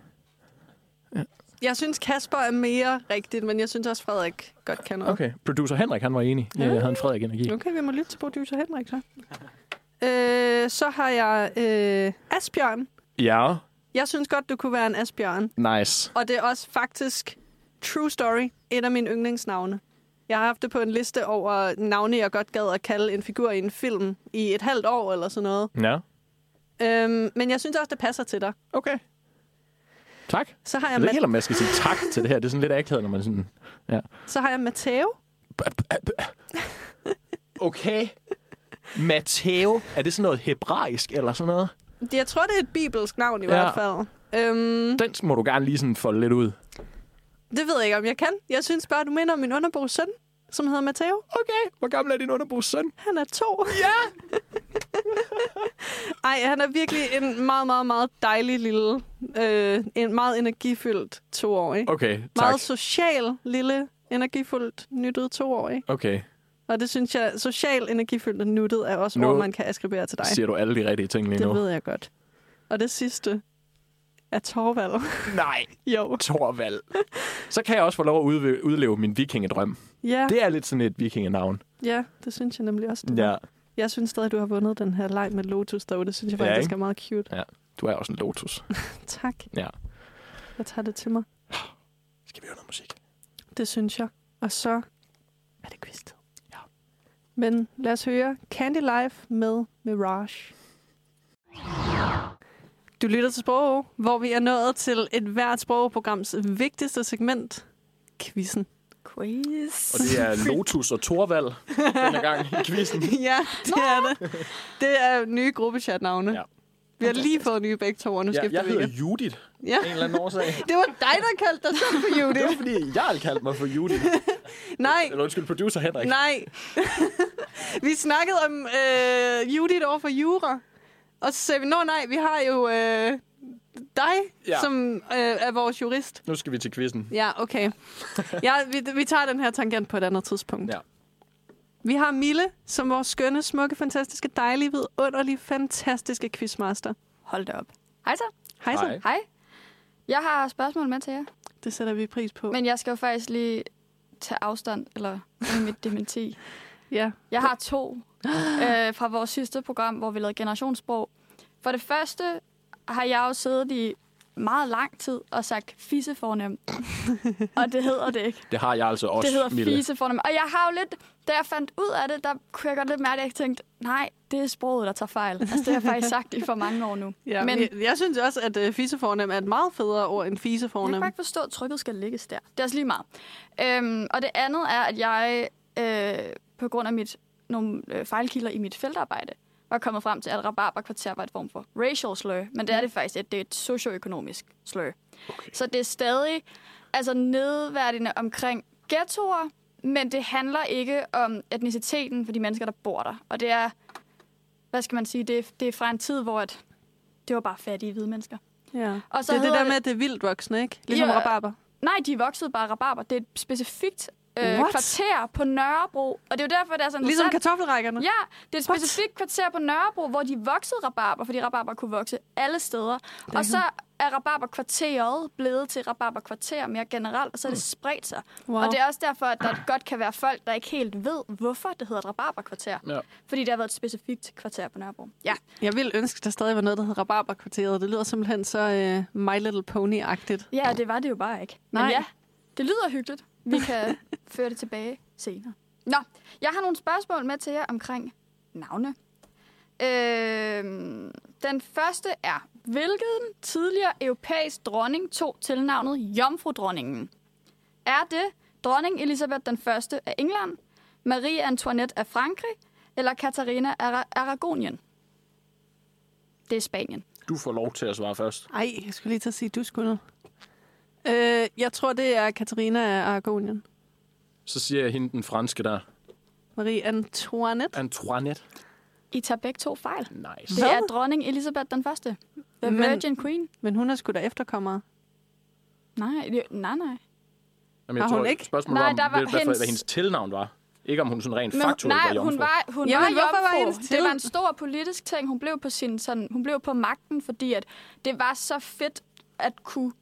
Jeg synes, Kasper er mere rigtigt, men jeg synes også, Frederik godt kan noget.
Okay, producer Henrik, han var enig. Ja, jeg havde en Frederik-energi.
okay vi må lytte til producer Henrik så. øh, så har jeg øh, Asbjørn.
Ja,
Jeg synes godt, du kunne være en Asbjørn.
nice.
Og det er også faktisk, true story, et af mine yndlingsnavne. Jeg har haft det på en liste over navne, jeg godt gad at kalde en figur i en film i et halvt år eller sådan noget.
Ja,
Øhm, men jeg synes også, det passer til dig.
okay. Tak. Jeg
Så har jeg,
ved ikke
Ma-
helt, om jeg skal sige tak til det her. Det er sådan lidt akavet, når man sådan...
så har jeg Matteo.
Okay. Matteo. Er det sådan noget hebraisk eller sådan noget?
Jeg tror, det er et bibelsk navn i
Ja.
hvert fald. Øhm,
Den må du gerne lige sådan folde lidt ud.
det ved jeg ikke, om jeg kan. Jeg synes bare, du minder om min underbos søn, som hedder Matteo.
Okay, hvor gammel er din underbos søn?
Han er to. Ja! Ej, han er virkelig en meget, meget, meget dejlig lille, øh, en meget energifyldt toårig.
Okay, tak.
Meget social, lille, energifyldt, nyttet toårig.
Okay,
Og det synes jeg, social, energifyldt og nuttet er også
Nu-
no. ord, man kan askribere til dig.
siger du alle de rigtige ting lige
Det
nu?
ved jeg godt. Og det sidste er Torvald.
Nej,
jo.
Torvald. Så kan jeg også få lov at udve- udleve min vikingedrøm.
Ja, det...
Det er lidt sådan et vikingenavn.
ja, det synes jeg nemlig
Mm.
også. Ja. Jeg synes stadig, du har vundet den her leg med Lotus dog. Det synes jeg
Ja,
faktisk
ikke?
er meget cute.
Du er også en lotus.
Tak.
Ja.
Jeg tager det til mig.
Skal vi høre noget musik?
Det synes jeg. Og så er det quiztid.
Ja.
Men lad os høre Candy Life med Mirage. Du lytter til Sprog, hvor vi er nået til et hvert sprogprograms vigtigste segment, quizzen.
Og det er Lotus og Torvald denne gang i quizzen.
ja, det er det. Det er nye gruppechatnavne.
Ja.
Vi har lige fået nye begge to, og nu
Ja,
skifter
jeg
vi
hedder
igen.
Judith af
Ja.
en eller anden årsag.
Det var dig, der kaldte dig selv for
Det var
Judith.
fordi, jeg har kaldt mig for Judith.
Nej,
Eller undskyld, producer Henrik.
Nej. vi snakkede om øh, Judith over for Jura. Og så sagde vi, nå nej, vi har jo øh, dig,
Ja.
ja. som øh, er vores jurist.
Nu skal vi til quizzen.
Ja, okay. Ja, vi, vi tager den her tangent på et andet tidspunkt.
Ja.
Vi har Mille, som vores skønne, smukke, fantastiske, dejlige, vidunderlige, fantastiske quizmaster.
Hold da op. Hej så.
Hej så.
Hej.
Hej. Jeg har spørgsmål med til jer,
Det sætter vi pris på.
men jeg skal jo faktisk lige tage afstand, eller give mit dementi.
ja.
Jeg har to øh, fra vores sidste program, hvor vi lavede generationssprog. For det første har jeg jo siddet i meget lang tid og sagt fissefornemt. og det hedder det ikke.
Det har jeg altså også,
det hedder
Mille.
fisefornemt. Og jeg har jo lidt, da jeg fandt ud af det, der kunne jeg godt lidt mærke, at jeg tænkte, nej, det er sproget, der tager fejl. Altså, det har jeg faktisk sagt i for mange år nu.
ja.
Men
Men jeg, jeg synes også, at øh, fisefornem er et meget federe ord end
Jeg kan
fisefornem.
bare ikke forstå, at trykket skal lægges der. Det er også lige meget. Øhm, og det andet er, at jeg øh, på grund af mit, nogle øh, fejlkilder i mit feltarbejde, var kommet frem til, at rabarberkvarter var et form for racial slur. Men det er det faktisk, at det er et socioøkonomisk slur. Okay. Så det er stadig altså nedværdigende omkring ghettoer, men det handler ikke om etniciteten for de mennesker, der bor der. Og det er, hvad skal man sige, det er, det er fra en tid, hvor at det var bare fattige hvide mennesker.
Ja.
Og så
det er det
hedder
der
det-
med, at det er vildt voksne, ikke? Ligesom
Ja.
rabarber.
Nej, de voksede bare rabarber. Det er et specifikt øh,
What?
kvarter på Nørrebro. Og det er jo derfor, det er sådan
Ligesom kartoffelrækkerne.
Ja, det er et specifikt kvarter på Nørrebro, hvor de voksede rabarber, fordi rabarber kunne vokse alle steder. Og så er rabarberkvarteret blevet til rabarberkvarter mere generelt, og så er det spredt sig.
Wow.
Og det er også derfor, at der godt kan være folk, der ikke helt ved, hvorfor det hedder et rabarberkvarter.
Ja.
Fordi det har været et specifikt kvarter på Nørrebro. Ja,
Jeg ville ønske, der stadig var noget, der hed Rabarberkvarteret. Det lyder simpelthen så uh, My Little Pony-agtigt.
ja og det var det jo bare ikke.
Nej.
Men ja, det lyder hyggeligt. Vi kan føre det tilbage senere. Nå, jeg har nogle spørgsmål med til jer omkring navne. Øh, den første er, hvilken tidligere europæisk dronning tog tilnavnet Jomfru-dronningen? Er det dronning Elisabeth den første af England, Marie Antoinette af Frankrig eller Katarina af Ara- Aragonien? Det er Spanien.
Du får lov til at svare først.
Ej, jeg skulle lige til at sige, du skulle noget. Uh, jeg tror, det er Katarina af Aragonien.
Så siger jeg hende den franske der.
Marie Antoinette.
Antoinette.
I tager begge to fejl.
Nice.
Det
Hvad?
er dronning Elisabeth den første. The
Men-
Virgin Queen.
Men hun er sgu da efterkommere.
Nej, det- nej, nej.
Jamen,
Har hun ikke?
Spørgsmålet
Nej,
om,
der var
hvad, hendes...
hendes-
hvad hendes tilnavn var. Ikke om hun sådan rent faktuelt var
nej,
jomfru.
hun var, hun
Jamen,
var
hvorfor var
jomfru.
hendes
det
titel-
var en stor politisk ting. Hun blev på, sin, sådan, hun blev på magten, fordi at det var så fedt at kunne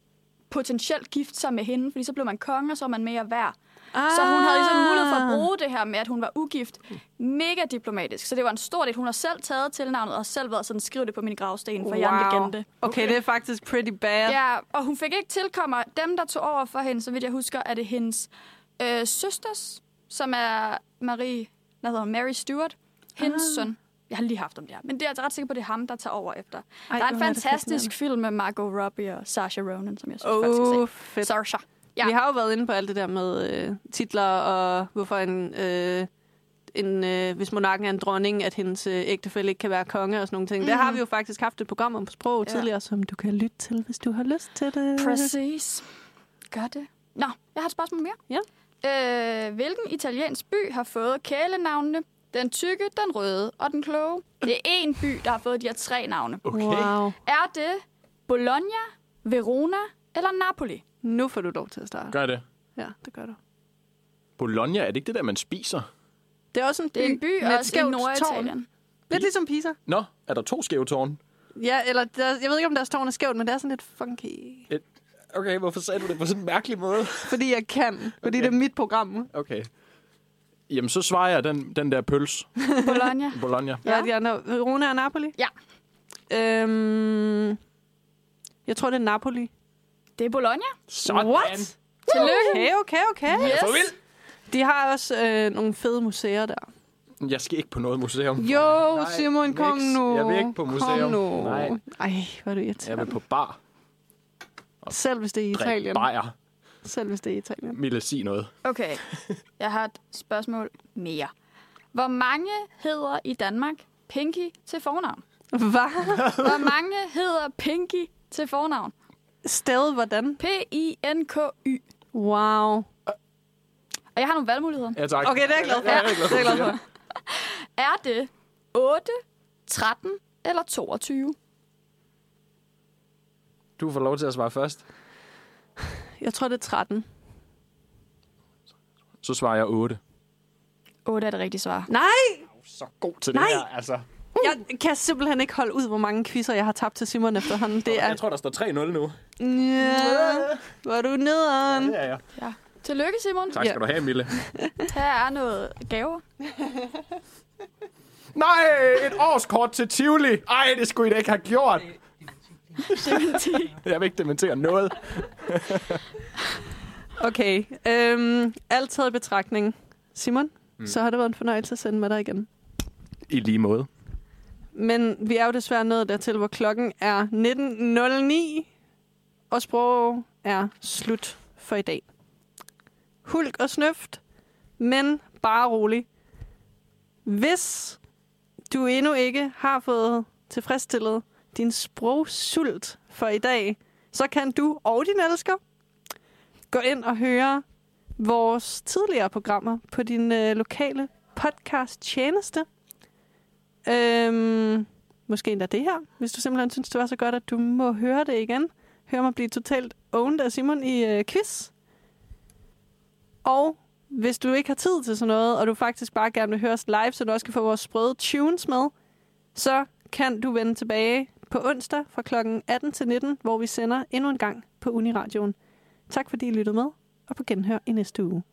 potentielt gifte sig med hende, fordi så blev man konge, og så var man mere værd.
Ah.
Så hun havde ligesom mulighed for at bruge det her med, at hun var ugift. Mega diplomatisk. Så det var en stor del. Hun har selv taget tilnavnet og har selv været sådan, skriv det på min gravsten, for wow. jeg er en legende.
Okay, det er faktisk pretty bad.
Ja, og hun fik ikke tilkommer. Dem, der tog over for hende, så vidt jeg husker, er det hendes øh, søsters, som er Marie, hvad hedder hun, Mary Stewart, hendes ah. søn. Jeg har lige haft om det her, men det er jeg altså ret sikker på, det er ham, der tager over efter.
Ej,
Ej, der er en
hvor er det
fantastisk
fascinerende.
film med Margot Robbie og Saoirse Ronan, som jeg synes, oh, folk
Åh, oh,
skal se.
fedt.
Saoirse.
Ja.
Ja.
Vi har jo været inde på alt det der med øh, titler og hvorfor en, øh, en øh, hvis monarken er en dronning, at hendes øh, ægtefælle ikke kan være konge og sådan nogle ting. Mm. Der har vi jo faktisk haft et program om på sprog ja.
Ja.
tidligere, som du kan lytte til, hvis du har lyst til det.
Præcis. Gør det. Nå, jeg har et spørgsmål mere.
Ja.
Øh, hvilken italiensk by har fået kælenavnene? Den tykke, den røde og den kloge. Det er én by, der har fået de her tre navne.
Okay. Wow.
Wow.
Er det Bologna, Verona eller Napoli?
Nu får du lov til at starte.
Gør det.
Ja, det gør du.
Bologna, er det ikke det der, man spiser?
Det er også en by,
Det er en by
med et
også i
skævt tårn.
Norditalien.
Lidt ligesom Pisa.
Nå, er der to skæve tårne?
Ja, eller der, jeg ved ikke, om deres tårn er skævt, men det er sådan lidt funky.
Et- Okay, hvorfor sagde du det på sådan en mærkelig måde?
Fordi jeg kan. Fordi
Okay.
det er mit program.
Okay. Jamen, så svarer jeg den, den der pøls.
Bologna.
Bologna.
Ja. ja, de andre. Verona og Napoli.
Ja,
Øhm, jeg tror, det er Napoli.
det er Bologna.
Sådan.
What?
Tillykke.
Okay, okay, okay.
Yes.
For vild.
De har også øh, nogle fede museer der.
Jeg skal ikke på noget museum.
Jo, Nej,
Nej,
Simon,
niks.
kom nu.
Jeg vil ikke på museum.
Kom nu.
Nej.
Ej, hvor er du
Jeg vil
irriterende.
på bar.
Selv hvis det er i
Drik
Italien.
bajer.
Selv hvis det er i Italien.
Mille, sig noget.
Okay, jeg har et spørgsmål mere. Hvor mange hedder i Danmark Pinky til fornavn?
Hvad?
Hvor mange hedder Pinky til fornavn?
Sted hvordan?
P-I-N-K-Y.
Wow.
Og jeg har nogle valgmuligheder.
Ja, tak.
Okay, det er jeg glad for.
Ja, det er jeg glad for.
Det er jeg glad for.
Er det 8, 13 eller 22?
Du får lov til at svare først.
Jeg tror, det er 13.
Så svarer jeg 8.
8 er det rigtige svar.
Nej,
Så god til
Nej.
det her, altså.
jeg kan simpelthen ikke holde ud, hvor mange quizzer, jeg har tabt til Simon efterhånden. Det er...
Jeg tror, der står 3-0 nu.
Ja, hvor er du nederen.
Det er jeg.
Tillykke, Simon.
Tak skal du have, Mille.
Her er noget gaver.
Nej, et årskort til Tivoli. Ej, det skulle I da ikke have gjort. Jeg vil ikke dementere noget.
Okay, øhm, alt taget i betragtning. Simon, mm. så har det været en fornøjelse at sende med dig igen.
I lige måde.
Men vi er jo desværre nået dertil, hvor klokken er 19.09, og sprog er slut for i dag. Hulk og snøft, men bare rolig. Hvis du endnu ikke har fået tilfredsstillet din sprogsult for i dag, så kan du og din elsker gå ind og høre vores tidligere programmer på din øh, lokale podcast-tjeneste. Øhm, måske endda det her, hvis du simpelthen synes, det var så godt, at du må høre det igen. Hør mig blive totalt owned af Simon i øh, quiz. Og hvis du ikke har tid til sådan noget, og du faktisk bare gerne vil høre os live, så du også kan få vores sprøde tunes med, så kan du vende tilbage på onsdag fra kl. 18 til 19, hvor vi sender endnu en gang på Uniradioen. Tak fordi I lyttede med, og på genhør i næste uge.